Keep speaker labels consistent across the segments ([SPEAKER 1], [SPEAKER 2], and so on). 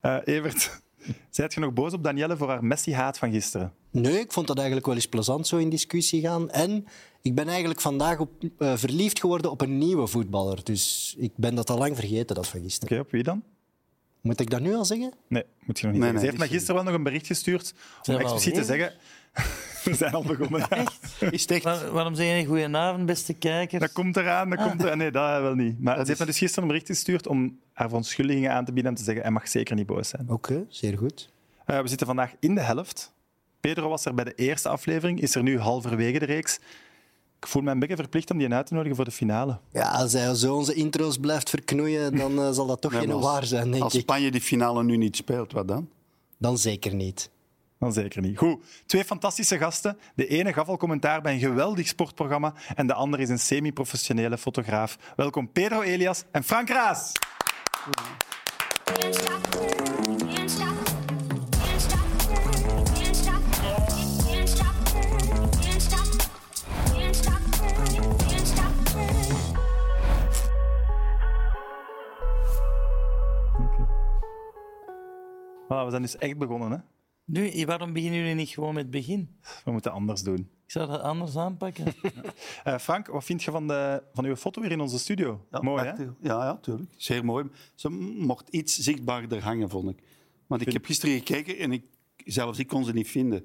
[SPEAKER 1] Eh, Evert, zijt je nog boos op Danielle voor haar Messi-haat van gisteren?
[SPEAKER 2] Nee, ik vond dat eigenlijk wel eens plezant zo in discussie gaan. En ik ben eigenlijk vandaag op, eh, verliefd geworden op een nieuwe voetballer. Dus ik ben dat al lang vergeten, dat van gisteren.
[SPEAKER 1] Oké, op wie dan?
[SPEAKER 2] Moet ik dat nu al zeggen?
[SPEAKER 1] Nee, moet je nog niet
[SPEAKER 3] Nee,
[SPEAKER 1] zeggen.
[SPEAKER 3] nee,
[SPEAKER 1] Ze heeft mij
[SPEAKER 3] niet
[SPEAKER 1] gisteren wel nog een bericht gestuurd om
[SPEAKER 4] we al
[SPEAKER 1] expliciet te
[SPEAKER 4] bezig?
[SPEAKER 1] zeggen... We zijn al begonnen.
[SPEAKER 3] Is het echt?
[SPEAKER 4] Waar- waarom zeg je niet goedenavond, beste kijkers?
[SPEAKER 1] Dat komt eraan, dat komt eraan. Nee, dat wel niet. Maar ze heeft
[SPEAKER 3] is-
[SPEAKER 1] mij dus gisteren een bericht gestuurd om haar verontschuldigingen aan te bieden en te zeggen hij mag zeker niet boos zijn.
[SPEAKER 2] Oké, zeer goed.
[SPEAKER 1] Eh, we zitten vandaag in de helft. Pedro was er bij de eerste aflevering, is er nu halverwege de reeks. Ik voel me een beetje verplicht om die uit te nodigen voor de finale.
[SPEAKER 2] Ja, als hij zo onze intro's blijft verknoeien, dan eh, zal dat toch
[SPEAKER 3] Nee, maar
[SPEAKER 2] geen
[SPEAKER 3] als-
[SPEAKER 2] waar zijn, denk
[SPEAKER 3] Als
[SPEAKER 2] ik.
[SPEAKER 3] Spanje die finale nu niet speelt, wat dan?
[SPEAKER 2] Dan zeker niet.
[SPEAKER 1] Dan zeker niet. Goed, twee fantastische gasten. De ene gaf al commentaar bij een geweldig sportprogramma en de andere is een semi-professionele fotograaf. Welkom Pedro Elias en Frank Raas.
[SPEAKER 5] Can't stop, can't stop, can't stop, can't stop, can't stop, can't stop, can't stop, can't stop.
[SPEAKER 1] Voilà, we zijn dus echt begonnen. Hè?
[SPEAKER 4] Nu, waarom beginnen jullie niet gewoon met het begin?
[SPEAKER 1] We moeten anders doen.
[SPEAKER 4] Ik zou dat anders aanpakken.
[SPEAKER 1] Eh, Frank, wat vind je van, de, van uw foto hier in onze studio?
[SPEAKER 3] Ja,
[SPEAKER 1] Mooi, hè?
[SPEAKER 3] prachtig. Ja, ja, tuurlijk. Zeer mooi. Ze mocht iets zichtbaarder hangen, vond ik. Want ik heb gisteren gekeken en ik, zelfs ik kon ze niet vinden.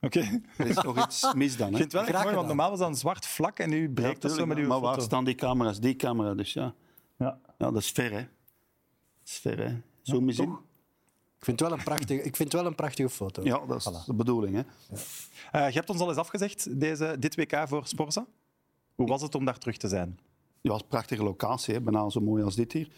[SPEAKER 1] Oké.
[SPEAKER 3] Er is toch iets mis dan,
[SPEAKER 1] Ik
[SPEAKER 3] hè?
[SPEAKER 1] vind het wel echt mooi, want normaal was dat een zwart vlak en nu
[SPEAKER 3] Ja,
[SPEAKER 1] breekt dat zo
[SPEAKER 3] tuurlijk,
[SPEAKER 1] met uw
[SPEAKER 3] maar
[SPEAKER 1] foto.
[SPEAKER 3] waar staan die camera's? Die camera, dus ja.
[SPEAKER 1] Ja.
[SPEAKER 3] Ja, dat is ver, hè. Dat is ver, hè. Zoom eens in.
[SPEAKER 2] Ik vind het wel een prachtige, ik vind het wel een prachtige foto.
[SPEAKER 3] Ja, dat is de bedoeling, hè.
[SPEAKER 1] Eh, je hebt ons al eens afgezegd, deze, dit WK voor Sporza. Hoe was het om daar terug te zijn?
[SPEAKER 3] Ja, het is een prachtige locatie, hè. bijna zo mooi als dit hier.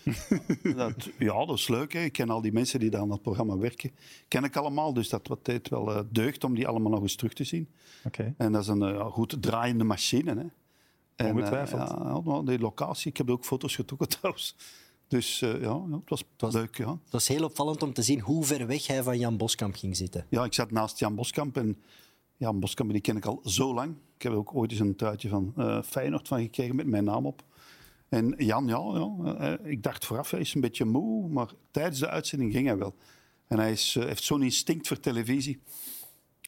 [SPEAKER 3] dat, ja, dat is leuk. Hè. Ik ken al die mensen die daar aan dat programma werken. Ken ik allemaal, dus dat wat deed wel eh, deugd om die allemaal nog eens terug te zien.
[SPEAKER 1] Oké.
[SPEAKER 3] En dat is een eh, ja, goed draaiende machine. Hè. En,
[SPEAKER 1] Ongetwijfeld.
[SPEAKER 3] eh, ja, ja, nou, die locatie, ik heb er ook foto's getrokken trouwens. Dus eh, ja, ja, het was, leuk. Ja.
[SPEAKER 2] Het was heel opvallend om te zien hoe ver weg hij van Jan Boskamp ging zitten.
[SPEAKER 3] ja, ik zat naast Jan Boskamp en Jan Boskamp die ken ik al zo lang. Ik heb er ook ooit eens een truitje van eh Feyenoord van gekregen met mijn naam op. En Jan, ja, ja eh, ik dacht vooraf, hij is een beetje moe, maar tijdens de uitzending ging hij wel. En hij is, eh, heeft zo'n instinct voor televisie.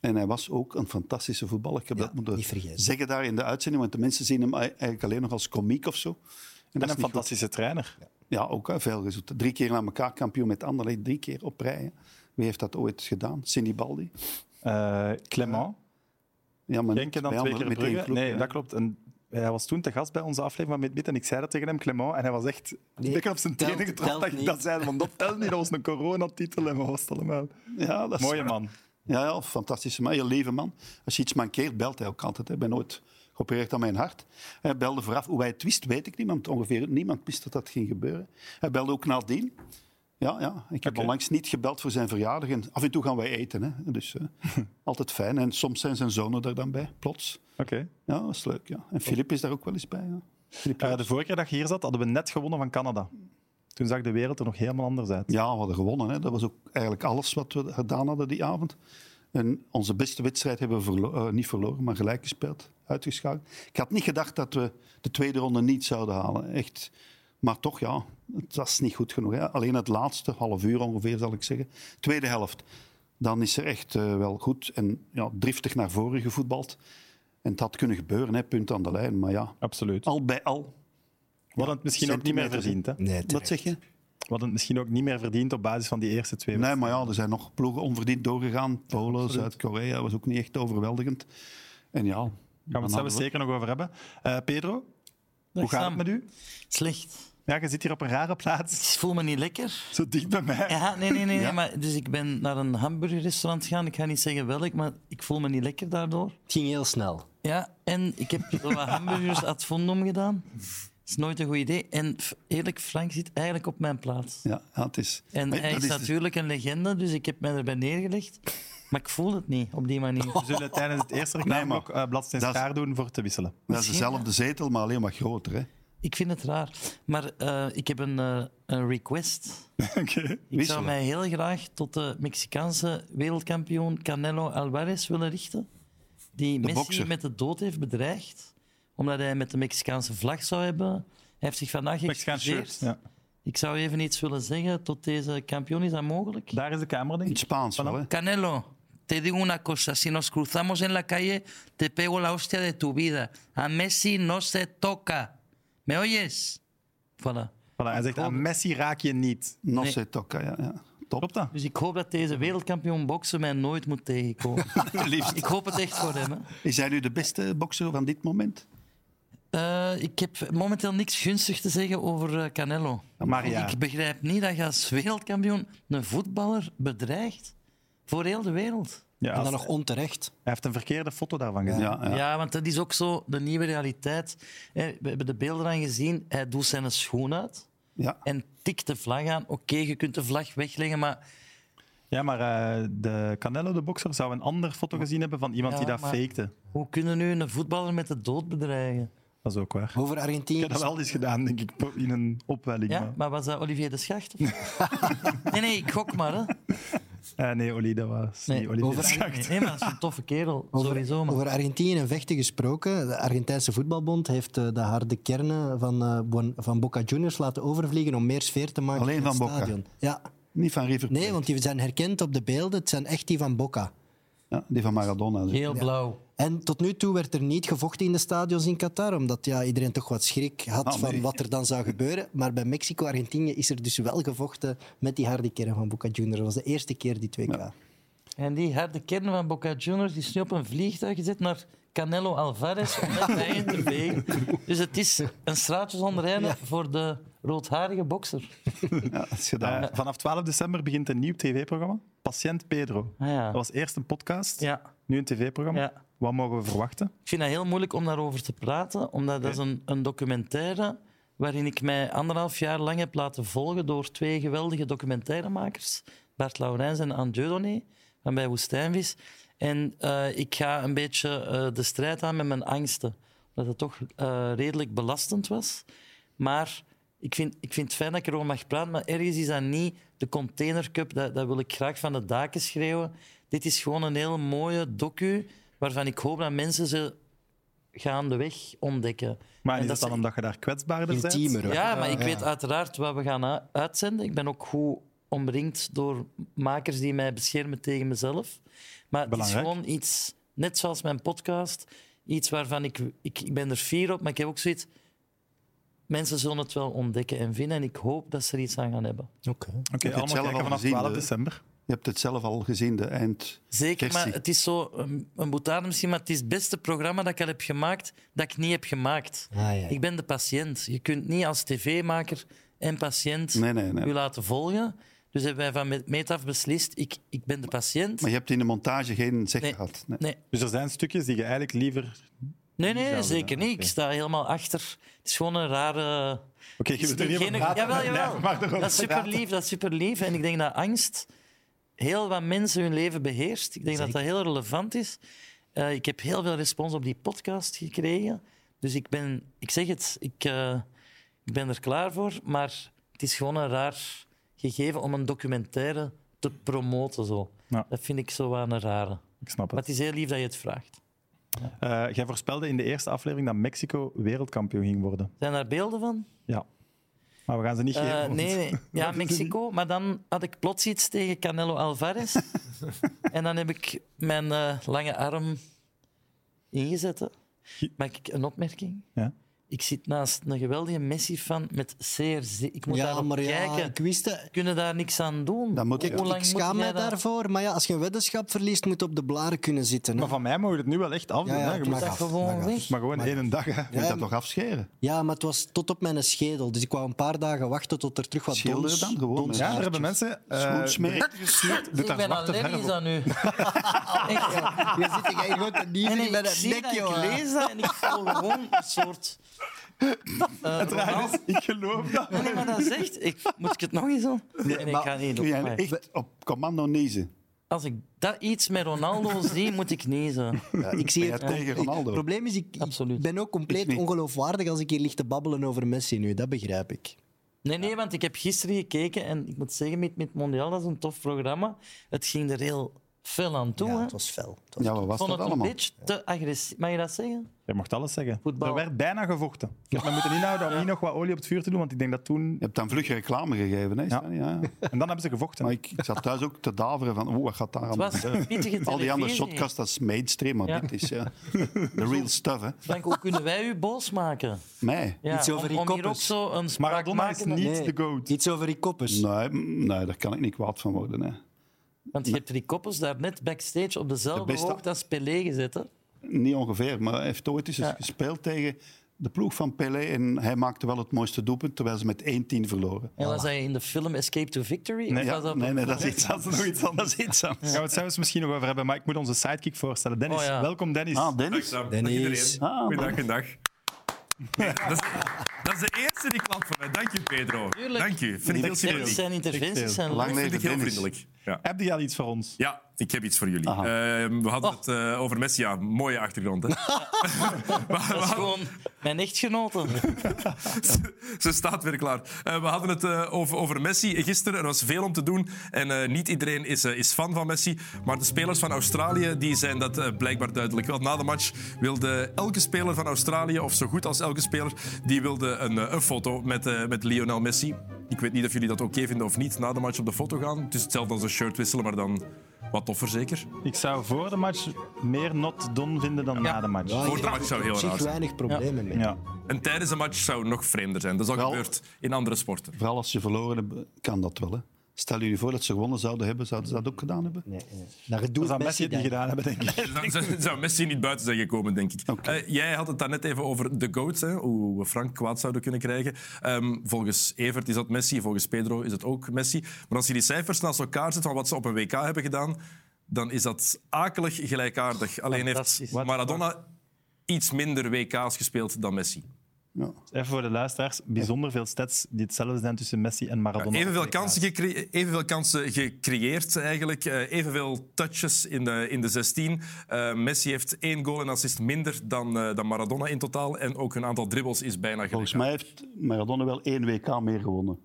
[SPEAKER 3] En hij was ook een fantastische voetballer. Ik heb dat
[SPEAKER 2] niet
[SPEAKER 3] moeten
[SPEAKER 2] vergeten.
[SPEAKER 3] zeggen daar in de uitzending, want de mensen zien hem ei- eigenlijk alleen nog als komiek of zo. En, dat
[SPEAKER 1] En
[SPEAKER 3] is
[SPEAKER 1] een
[SPEAKER 3] niet goed.
[SPEAKER 1] fantastische trainer.
[SPEAKER 3] Ja, ook hè, veel resultaten. Drie keer na elkaar kampioen met Anderlecht, drie keer op rij. hè. Wie heeft dat ooit gedaan? Cindy Baldi?
[SPEAKER 1] Eh Clement,
[SPEAKER 3] Ja, maar
[SPEAKER 1] Genk en dan
[SPEAKER 3] bij
[SPEAKER 1] twee
[SPEAKER 3] andere-
[SPEAKER 1] keer
[SPEAKER 3] met één
[SPEAKER 1] Brugge.
[SPEAKER 3] club,
[SPEAKER 1] nee,
[SPEAKER 3] ja.
[SPEAKER 1] dat klopt. En hij was toen te gast bij onze aflevering van Mid-Mid en ik zei dat tegen hem, Clement, en hij was echt een beetje op zijn
[SPEAKER 2] telt-
[SPEAKER 1] tenen getrapt.
[SPEAKER 2] telt
[SPEAKER 1] Dat, ik
[SPEAKER 2] niet.
[SPEAKER 1] dat zei want dat telt niet, dat was een coronatitel en wat was het allemaal.
[SPEAKER 3] Ja, dat is-
[SPEAKER 1] Mooie man.
[SPEAKER 3] Ja, ja, fantastische man. Je lieve man. Als je iets mankeert, belt hij ook altijd. hè. Ik ben nooit geopereerd aan mijn hart. Hij belde vooraf. Hoe hij het wist, weet ik niemand. Ongeveer niemand wist dat dat ging gebeuren. Hij belde ook nadien. Ja, ja. Ik heb
[SPEAKER 1] Oké.
[SPEAKER 3] onlangs niet gebeld voor zijn verjaardag. En af en toe gaan wij eten. Hè. Dus eh, altijd fijn. En soms zijn zijn zonen er dan bij, plots.
[SPEAKER 1] Oké.
[SPEAKER 3] Ja, dat is leuk. Ja. En Filip is daar ook wel eens bij. Ja. Filip
[SPEAKER 1] Eh,
[SPEAKER 3] Joos.
[SPEAKER 1] de vorige keer dat je hier zat, hadden we net gewonnen van Canada. Toen zag de wereld er nog helemaal anders uit.
[SPEAKER 3] Ja, we hadden gewonnen. Hè. Dat was ook eigenlijk alles wat we gedaan hadden die avond. En onze beste wedstrijd hebben we verlo- eh, niet verloren, maar gelijk gespeeld, uitgeschakeld. Ik had niet gedacht dat we de tweede ronde niet zouden halen. Echt. Maar toch, ja, het was niet goed genoeg. Hè. Alleen het laatste half uur ongeveer, zal ik zeggen. Tweede helft. Dan is er echt eh, wel goed en ja, driftig naar voren gevoetbald. En het had kunnen gebeuren, hè, punt aan de lijn. Maar ja,
[SPEAKER 1] Absoluut.
[SPEAKER 3] al bij al.
[SPEAKER 1] We hadden het misschien ook niet meer verdiend. Hè? We
[SPEAKER 2] Nee,
[SPEAKER 3] Wat
[SPEAKER 2] terecht.
[SPEAKER 3] zeg je?
[SPEAKER 1] hadden het misschien ook niet meer verdiend op basis van die eerste twee
[SPEAKER 3] Nee, maar ja, er zijn nog ploegen onverdiend doorgegaan. Polen, Zuid-Korea was ook niet echt overweldigend. En ja,
[SPEAKER 1] Daar gaan we het
[SPEAKER 3] hadden
[SPEAKER 1] zelfs zeker nog over hebben. Eh, Pedro,
[SPEAKER 4] Dag,
[SPEAKER 1] hoe gaat
[SPEAKER 4] Sam.
[SPEAKER 1] het met u?
[SPEAKER 4] Slecht.
[SPEAKER 1] Ja, je zit hier op een rare
[SPEAKER 4] Ik
[SPEAKER 1] plaats,
[SPEAKER 4] voel me niet lekker.
[SPEAKER 1] zo dicht bij mij.
[SPEAKER 4] Ja, nee, nee, nee. nee, maar, dus ik ben naar een hamburgerrestaurant gegaan. Ik ga niet zeggen welk, maar ik voel me niet lekker daardoor.
[SPEAKER 2] Het ging heel snel.
[SPEAKER 4] Ja, en ik heb zo wat hamburgers ad fondum gedaan. Dat is nooit een goed idee. En f- eerlijk, Frank zit eigenlijk op mijn plaats.
[SPEAKER 3] Ja, ja, het is...
[SPEAKER 4] En
[SPEAKER 3] Maar
[SPEAKER 4] hij
[SPEAKER 3] dat
[SPEAKER 4] is
[SPEAKER 1] dus-
[SPEAKER 4] natuurlijk een legende, dus ik heb mij erbij neergelegd. Maar ik voel het niet op die manier.
[SPEAKER 1] We zullen tijdens het eerste
[SPEAKER 3] Nee, maar-
[SPEAKER 1] reclameblok eh bladzijde
[SPEAKER 3] dat is-
[SPEAKER 1] schaar doen voor te wisselen.
[SPEAKER 3] Dat is dezelfde zetel, maar alleen maar groter. Hè.
[SPEAKER 4] Ik vind het raar. Maar eh, ik heb een, eh, een request.
[SPEAKER 1] Oké.
[SPEAKER 4] Ik
[SPEAKER 3] Wisselen.
[SPEAKER 4] zou mij heel graag tot de Mexicaanse wereldkampioen Canelo Alvarez willen richten. Die Messi
[SPEAKER 3] bokser.
[SPEAKER 4] met de dood heeft bedreigd. Omdat hij met de Mexicaanse vlag zou hebben. Hij heeft zich vandaag
[SPEAKER 1] Mexicaans shirt.
[SPEAKER 4] geëxcuseerd.
[SPEAKER 1] Ja.
[SPEAKER 4] Ik zou even iets willen zeggen tot deze kampioen. Is dat mogelijk?
[SPEAKER 1] Daar is de camera, denk
[SPEAKER 3] In het
[SPEAKER 1] ik.
[SPEAKER 3] Spaans wel, hè?
[SPEAKER 4] Canelo, te digo una cosa. Si nos cruzamos en la calle, te pego la hostia de tu vida. A Messi no se toca. ¿Me oyes? Voilà.
[SPEAKER 1] Voilà, hij zegt, aan Messi raak je niet.
[SPEAKER 3] Nos
[SPEAKER 4] Nee.
[SPEAKER 3] se toca, ja. ja. Top.
[SPEAKER 1] Klopt dat?
[SPEAKER 4] Dus ik hoop dat deze wereldkampioen boksen mij nooit moet tegenkomen.
[SPEAKER 3] Liefst.
[SPEAKER 4] ik hoop het echt voor hem. Hè.
[SPEAKER 3] Is hij nu de beste bokser van dit moment?
[SPEAKER 4] Eh, ik heb momenteel niks gunstig te zeggen over eh, Canelo.
[SPEAKER 1] Maar ja,
[SPEAKER 4] Ik begrijp niet dat je als wereldkampioen een voetballer bedreigt. Voor heel de wereld.
[SPEAKER 1] ja,
[SPEAKER 2] En
[SPEAKER 1] als-
[SPEAKER 2] dan nog onterecht.
[SPEAKER 1] hij heeft een verkeerde foto daarvan gezien.
[SPEAKER 3] Ja,
[SPEAKER 4] Ja.
[SPEAKER 3] ja.
[SPEAKER 4] want dat is ook zo de nieuwe realiteit. Eh, We hebben de beelden aan gezien. Hij doet zijn schoen uit
[SPEAKER 3] ja.
[SPEAKER 4] en tikt de vlag aan. Oké, je kunt de vlag wegleggen, maar
[SPEAKER 1] Ja, maar eh, de Canelo, de bokser, zou een andere foto gezien hebben van iemand
[SPEAKER 4] Ja,
[SPEAKER 1] die dat
[SPEAKER 4] maar-
[SPEAKER 1] fakte.
[SPEAKER 4] hoe kunnen nu een voetballer met de dood bedreigen?
[SPEAKER 1] Dat is ook waar.
[SPEAKER 2] Over
[SPEAKER 1] Ik
[SPEAKER 2] Argentinië.
[SPEAKER 1] heb dat wel eens gedaan, denk ik, in een opwelling.
[SPEAKER 4] Ja,
[SPEAKER 1] maar-
[SPEAKER 4] maar was dat Olivier de Schacht? of- nee, nee, ik gok maar. Hè.
[SPEAKER 1] Eh, nee, Oli, dat was
[SPEAKER 4] Nee,
[SPEAKER 1] niet Oli.
[SPEAKER 2] over-
[SPEAKER 1] Schacht.
[SPEAKER 4] Nee, nee, maar dat is een toffe kerel. Sowieso, maar.
[SPEAKER 2] Over Argentinië en vechten gesproken. De Argentijnse voetbalbond heeft eh, de harde kernen van, eh, Buon- van Boca Juniors laten overvliegen om meer sfeer te maken
[SPEAKER 3] Alleen
[SPEAKER 2] in het
[SPEAKER 3] van Boca?
[SPEAKER 2] stadion. Ja.
[SPEAKER 3] Niet van River Plate.
[SPEAKER 2] Nee, want die zijn herkend op de beelden. Het zijn echt die van Boca.
[SPEAKER 3] Ja, die van Maradona. zeg.
[SPEAKER 4] Heel blauw.
[SPEAKER 2] En tot nu toe werd er niet gevochten in de stadions in Qatar, omdat ja, iedereen toch wat schrik had
[SPEAKER 3] Ah, nee.
[SPEAKER 2] van wat er dan zou gebeuren. Maar bij Mexico-Argentinië is er dus wel gevochten met die harde kern van Boca Juniors. Dat was de eerste keer die twee kwamen.
[SPEAKER 4] En die harde kern van Boca Juniors die is nu op een vliegtuig gezet naar Canelo Alvarez om met mij in te vegen. Dus het is een straatjes voor de roodharige bokser.
[SPEAKER 3] Ja, dat is gedaan.
[SPEAKER 1] Eh, vanaf 12 december begint een nieuw tv-programma, Patiënt Pedro.
[SPEAKER 4] Ah, ja.
[SPEAKER 1] Dat was eerst een podcast,
[SPEAKER 4] Ja,
[SPEAKER 1] nu een tv-programma.
[SPEAKER 4] ja.
[SPEAKER 1] Wat mogen we verwachten?
[SPEAKER 4] Ik vind het heel moeilijk om daarover te praten, omdat dat is een, een documentaire waarin ik mij anderhalf jaar lang heb laten volgen door twee geweldige documentairemakers, Bart Laurijns en Anne Dieudonné, van bij Woestijnvis. En eh, ik ga een beetje eh, de strijd aan met mijn angsten, omdat het toch eh, redelijk belastend was. Maar ik vind, ik vind het fijn dat ik erover mag praten, maar ergens is dat niet de Container Cup. Dat, dat wil ik graag van de daken schreeuwen. Dit is gewoon een heel mooie docu waarvan ik hoop dat mensen ze gaan de weg ontdekken.
[SPEAKER 1] Maar
[SPEAKER 4] En
[SPEAKER 1] is
[SPEAKER 4] dat
[SPEAKER 1] dat dan
[SPEAKER 4] ze-
[SPEAKER 1] omdat je daar kwetsbaarder bent?
[SPEAKER 2] Intiemer. hoor.
[SPEAKER 4] Ja, maar ik weet uiteraard wat we gaan u- uitzenden. Ik ben ook goed omringd door makers die mij beschermen tegen mezelf. Maar
[SPEAKER 1] Belangrijk.
[SPEAKER 4] het is gewoon iets, net zoals mijn podcast, iets waarvan ik, ik, ik ben er fier op, maar ik heb ook zoiets... Mensen zullen het wel ontdekken en vinden en ik hoop dat ze er iets aan gaan hebben.
[SPEAKER 2] Oké.
[SPEAKER 1] Oké,
[SPEAKER 3] Ik heb het
[SPEAKER 1] allemaal
[SPEAKER 3] zelf
[SPEAKER 1] kijken
[SPEAKER 3] al
[SPEAKER 1] vanaf
[SPEAKER 3] gezien,
[SPEAKER 1] 12
[SPEAKER 3] hè.
[SPEAKER 1] december.
[SPEAKER 3] Je hebt het zelf al gezien, de eind.
[SPEAKER 4] Zeker, maar
[SPEAKER 3] Versie.
[SPEAKER 4] het is zo een, een boetade misschien, maar het is het beste programma dat ik al heb gemaakt, dat ik niet heb gemaakt.
[SPEAKER 2] Ah, ja, ja.
[SPEAKER 4] Ik ben de patiënt. Je kunt niet als tv-maker en patiënt
[SPEAKER 3] Nee, nee,
[SPEAKER 4] u
[SPEAKER 3] nee.
[SPEAKER 4] laten volgen. Dus hebben wij van met- meet af beslist, ik, ik ben de patiënt.
[SPEAKER 3] Maar je hebt in de montage geen zeg
[SPEAKER 4] Nee.
[SPEAKER 3] gehad. Nee.
[SPEAKER 4] Nee,
[SPEAKER 1] Dus er zijn stukjes die je eigenlijk liever...
[SPEAKER 4] nee, nee
[SPEAKER 1] zouden
[SPEAKER 4] zeker
[SPEAKER 1] dan,
[SPEAKER 4] niet.
[SPEAKER 1] oké.
[SPEAKER 4] Ik sta helemaal achter. Het is gewoon een rare...
[SPEAKER 1] Oké, je
[SPEAKER 4] Is
[SPEAKER 1] wilt er niet
[SPEAKER 4] geen-
[SPEAKER 1] over praten.
[SPEAKER 4] Jawel, jawel.
[SPEAKER 1] Nee, maar erover
[SPEAKER 4] dat is super
[SPEAKER 1] praten.
[SPEAKER 4] lief, dat is super lief. En ik denk dat angst heel wat mensen hun leven beheerst. Ik denk dat dat heel relevant is. Eh, ik heb heel veel respons op die podcast gekregen. Dus ik ben, ik zeg het, ik, eh, ik ben er klaar voor. Maar het is gewoon een raar gegeven om een documentaire te promoten. Zo.
[SPEAKER 1] Ja.
[SPEAKER 4] Dat vind ik zo wel een rare.
[SPEAKER 1] Ik snap
[SPEAKER 4] Maar
[SPEAKER 1] het.
[SPEAKER 4] het is heel lief dat je het vraagt.
[SPEAKER 1] Eh, jij voorspelde in de eerste aflevering dat Mexico wereldkampioen ging worden.
[SPEAKER 4] Zijn daar beelden van?
[SPEAKER 1] Ja. Maar we gaan ze niet geven.
[SPEAKER 4] Eh,
[SPEAKER 1] want-
[SPEAKER 4] nee, nee. ja, Mexico. Maar dan had ik plots iets tegen Canelo Alvarez. en dan heb ik mijn eh, lange arm ingezet. hè. Maak ik een opmerking?
[SPEAKER 1] Ja.
[SPEAKER 4] Ik zit naast een geweldige Messi-fan met zeer... ze- Ik moet
[SPEAKER 2] Ja,
[SPEAKER 4] daarop
[SPEAKER 2] maar ja,
[SPEAKER 4] kijken.
[SPEAKER 2] ik wist het.
[SPEAKER 4] Kunnen daar niks aan doen.
[SPEAKER 3] Dan moet
[SPEAKER 4] Hoe
[SPEAKER 3] je-
[SPEAKER 4] lang
[SPEAKER 2] Ik
[SPEAKER 4] moet jij
[SPEAKER 2] schaam mij
[SPEAKER 4] dat-
[SPEAKER 2] daarvoor. Maar ja, als je een weddenschap verliest, moet je op de blaren kunnen zitten. hè.
[SPEAKER 1] Maar van mij mogen we het nu wel echt afdoen.
[SPEAKER 2] Ja, ja,
[SPEAKER 1] hè. Je
[SPEAKER 2] doe
[SPEAKER 1] moet-
[SPEAKER 4] dat
[SPEAKER 2] af,
[SPEAKER 4] gewoon
[SPEAKER 2] mag af.
[SPEAKER 4] weg.
[SPEAKER 1] maar gewoon één dag. Hè.
[SPEAKER 3] Je moet
[SPEAKER 2] Ja,
[SPEAKER 3] dat toch afscheren?
[SPEAKER 2] Ja, maar het was tot op mijn schedel. Dus ik wou een paar dagen wachten tot er terug wat
[SPEAKER 3] Schilderen
[SPEAKER 2] dons...
[SPEAKER 3] dan gewoon,
[SPEAKER 2] dons-
[SPEAKER 3] hè?
[SPEAKER 1] Ja, er hebben mensen... eh,
[SPEAKER 3] Smoot smeren.
[SPEAKER 1] berichten gestuurd. Doet
[SPEAKER 4] Ik
[SPEAKER 1] daar
[SPEAKER 4] ben
[SPEAKER 1] zwarte verf
[SPEAKER 4] allergisch
[SPEAKER 1] op.
[SPEAKER 4] aan u. Echt, ja.
[SPEAKER 2] Je zit hier gewoon te
[SPEAKER 4] En
[SPEAKER 2] niezen in
[SPEAKER 4] ik,
[SPEAKER 2] mijn
[SPEAKER 4] zie
[SPEAKER 2] nek,
[SPEAKER 4] dat, ik
[SPEAKER 2] joh.
[SPEAKER 4] lees dat en ik voel gewoon een soort... eh,
[SPEAKER 1] Het raar is, ik geloof dat.
[SPEAKER 4] Nee, maar dat zegt. Ik, moet ik het nog eens doen? Nee, nee,
[SPEAKER 2] maar-
[SPEAKER 4] ik ga niet
[SPEAKER 3] Kun
[SPEAKER 4] doen.
[SPEAKER 3] jij
[SPEAKER 4] Maar
[SPEAKER 3] echt op commando niezen?
[SPEAKER 4] Als ik dat iets met Ronaldo zie, moet ik niezen.
[SPEAKER 2] Ja, ik zie
[SPEAKER 3] Ben
[SPEAKER 2] het
[SPEAKER 3] jij tegen
[SPEAKER 2] ik-
[SPEAKER 3] Ronaldo?
[SPEAKER 2] Het probleem is, ik, ik
[SPEAKER 4] Absoluut.
[SPEAKER 2] ben ook
[SPEAKER 3] Ik
[SPEAKER 2] compleet
[SPEAKER 3] niet.
[SPEAKER 2] ongeloofwaardig als ik hier lig te babbelen over Messi nu. Dat begrijp ik.
[SPEAKER 4] Nee, nee, want ik heb gisteren gekeken en ik moet zeggen, met, met Mondial, dat is een tof programma. Het ging er heel veel aan toe.
[SPEAKER 2] Ja,
[SPEAKER 4] hè.
[SPEAKER 2] het was fel. Het was-
[SPEAKER 3] Ja, wat
[SPEAKER 4] Ik
[SPEAKER 3] was
[SPEAKER 4] vond
[SPEAKER 3] dat
[SPEAKER 4] het een
[SPEAKER 3] allemaal?
[SPEAKER 4] beetje te agressief. Mag je dat zeggen?
[SPEAKER 1] Je mocht alles zeggen.
[SPEAKER 4] Voetbal.
[SPEAKER 1] Er werd bijna gevochten. Ik heb me moeten inhouden om niet nog wat olie op het vuur te doen, want ik denk dat toen...
[SPEAKER 3] Je hebt dan vlug reclame gegeven, hè? Stijn? Ja. ja.
[SPEAKER 1] En dan hebben ze gevochten.
[SPEAKER 3] Maar ik, ik zat thuis ook te daveren van, oeh, wat gaat daar aan
[SPEAKER 4] Het was
[SPEAKER 3] gebeuren?
[SPEAKER 4] een pittige
[SPEAKER 3] Al die andere
[SPEAKER 4] televisie.
[SPEAKER 3] shotcasts, dat is mainstream, maar
[SPEAKER 4] Ja.
[SPEAKER 3] dit is ja, the real stuff, hè.
[SPEAKER 4] Frank, hoe kunnen wij u boos maken?
[SPEAKER 3] Mij?
[SPEAKER 4] Ja,
[SPEAKER 2] Iets over
[SPEAKER 4] om-
[SPEAKER 2] die
[SPEAKER 4] om, hier ook
[SPEAKER 2] koppers.
[SPEAKER 4] zo een
[SPEAKER 1] Maradona is
[SPEAKER 4] spraakmakende-
[SPEAKER 1] niet
[SPEAKER 2] Nee,
[SPEAKER 1] de goat.
[SPEAKER 2] Iets over die koppers.
[SPEAKER 3] Nee, mm, nee, daar kan ik niet kwaad van worden, hè.
[SPEAKER 4] Want je hebt die koppels daar net backstage op dezelfde
[SPEAKER 3] De beste-
[SPEAKER 4] hoogte als Pelé gezet. Hè?
[SPEAKER 3] Niet ongeveer, maar hij heeft ooit eens
[SPEAKER 4] Ja.
[SPEAKER 3] gespeeld tegen de ploeg van Pelé en hij maakte wel het mooiste doelpunt, terwijl ze met 1-10 verloren.
[SPEAKER 4] En was hij in de film Escape to Victory?
[SPEAKER 1] Nee,
[SPEAKER 4] Of
[SPEAKER 3] Ja,
[SPEAKER 4] was dat-
[SPEAKER 3] nee, nee, dat is iets
[SPEAKER 1] Dat is
[SPEAKER 3] anders.
[SPEAKER 1] nog iets
[SPEAKER 3] Dat is iets anders.
[SPEAKER 1] Daar gaan we het zelfs misschien nog over hebben, maar ik moet onze sidekick voorstellen. Dennis,
[SPEAKER 4] Oh, ja.
[SPEAKER 1] welkom Dennis.
[SPEAKER 3] Ah, Dennis?
[SPEAKER 6] Dag Sam. Dag
[SPEAKER 2] Dennis.
[SPEAKER 6] iedereen.
[SPEAKER 3] Ah,
[SPEAKER 6] Goeiedag, goeiedag. Ja, dat, is, dat is de eerste die klapt voor mij. Dank je, Pedro.
[SPEAKER 4] Tuurlijk.
[SPEAKER 6] Dank je. Vind ik heel
[SPEAKER 1] Heel
[SPEAKER 6] sympathiek.
[SPEAKER 1] serieus.
[SPEAKER 4] Zijn interventies zijn
[SPEAKER 3] Lang
[SPEAKER 4] leuk.
[SPEAKER 6] Vind
[SPEAKER 3] leven
[SPEAKER 6] ik heel
[SPEAKER 3] Dennis.
[SPEAKER 6] vriendelijk. Ja.
[SPEAKER 1] Heb je al iets voor ons?
[SPEAKER 6] ja, ik heb iets voor jullie.
[SPEAKER 3] Aha.
[SPEAKER 6] Ehm, we hadden
[SPEAKER 4] Oh.
[SPEAKER 6] het eh, over Messi. Ja, mooie achtergrond. Hè.
[SPEAKER 4] Dat is gewoon mijn echtgenote.
[SPEAKER 6] Ze staat weer klaar. Eh, we hadden het eh, over, over Messi gisteren. Er was veel om te doen. En eh, niet iedereen is, eh, is fan van Messi. Maar de spelers van Australië die zijn dat eh, blijkbaar duidelijk. Want na de match wilde elke speler van Australië, of zo goed als elke speler, die wilde een, eh, een foto met, eh, met Lionel Messi. Ik weet niet of jullie dat oké vinden of niet, na de match op de foto gaan. Het is hetzelfde als een shirt wisselen, maar dan wat toffer zeker.
[SPEAKER 1] Ik zou voor de match meer not done vinden dan na de match.
[SPEAKER 2] Ja,
[SPEAKER 6] Voor
[SPEAKER 2] ik
[SPEAKER 6] de match zou heel
[SPEAKER 2] heb
[SPEAKER 6] raar
[SPEAKER 2] Ah, zich
[SPEAKER 6] zijn.
[SPEAKER 2] weinig problemen mee.
[SPEAKER 1] Ja.
[SPEAKER 6] En tijdens een match zou het nog vreemder zijn. Dat is al
[SPEAKER 3] Wel-
[SPEAKER 6] gebeurd in andere sporten.
[SPEAKER 3] Vooral als je verloren hebt, kan dat wel, hè. Stel jullie voor dat ze gewonnen zouden hebben, zouden ze dat ook gedaan hebben?
[SPEAKER 2] Nee, nee. Daar
[SPEAKER 1] Dat
[SPEAKER 2] Nou, doet
[SPEAKER 1] zou Messi
[SPEAKER 2] Messi,
[SPEAKER 1] het niet
[SPEAKER 2] denk ik.
[SPEAKER 1] gedaan hebben, denk ik.
[SPEAKER 6] Dan zou- zou Messi niet buiten zijn gekomen, denk ik. Eh, jij had het daarnet even over de GOAT, hè, hoe we Frank kwaad zouden kunnen krijgen. Ehm, volgens Evert is dat Messi, volgens Pedro is het ook Messi. Maar als je die cijfers naast elkaar zet van wat ze op een WK hebben gedaan, dan is dat akelig gelijkaardig. Alleen
[SPEAKER 4] Fantastisch.
[SPEAKER 6] heeft Maradona iets minder WK's gespeeld dan Messi.
[SPEAKER 3] Ja.
[SPEAKER 1] Even voor de luisteraars, bijzonder veel stats die hetzelfde zijn tussen Messi en Maradona.
[SPEAKER 6] Evenveel kansen, gecre- evenveel kansen gecreëerd eigenlijk. Eh, evenveel touches in de, in de 16. Eh, Messi heeft één goal en assist minder dan, eh, dan Maradona in totaal. En ook een aantal dribbles is bijna gelijk.
[SPEAKER 3] Volgens mij heeft Maradona wel één WK meer gewonnen.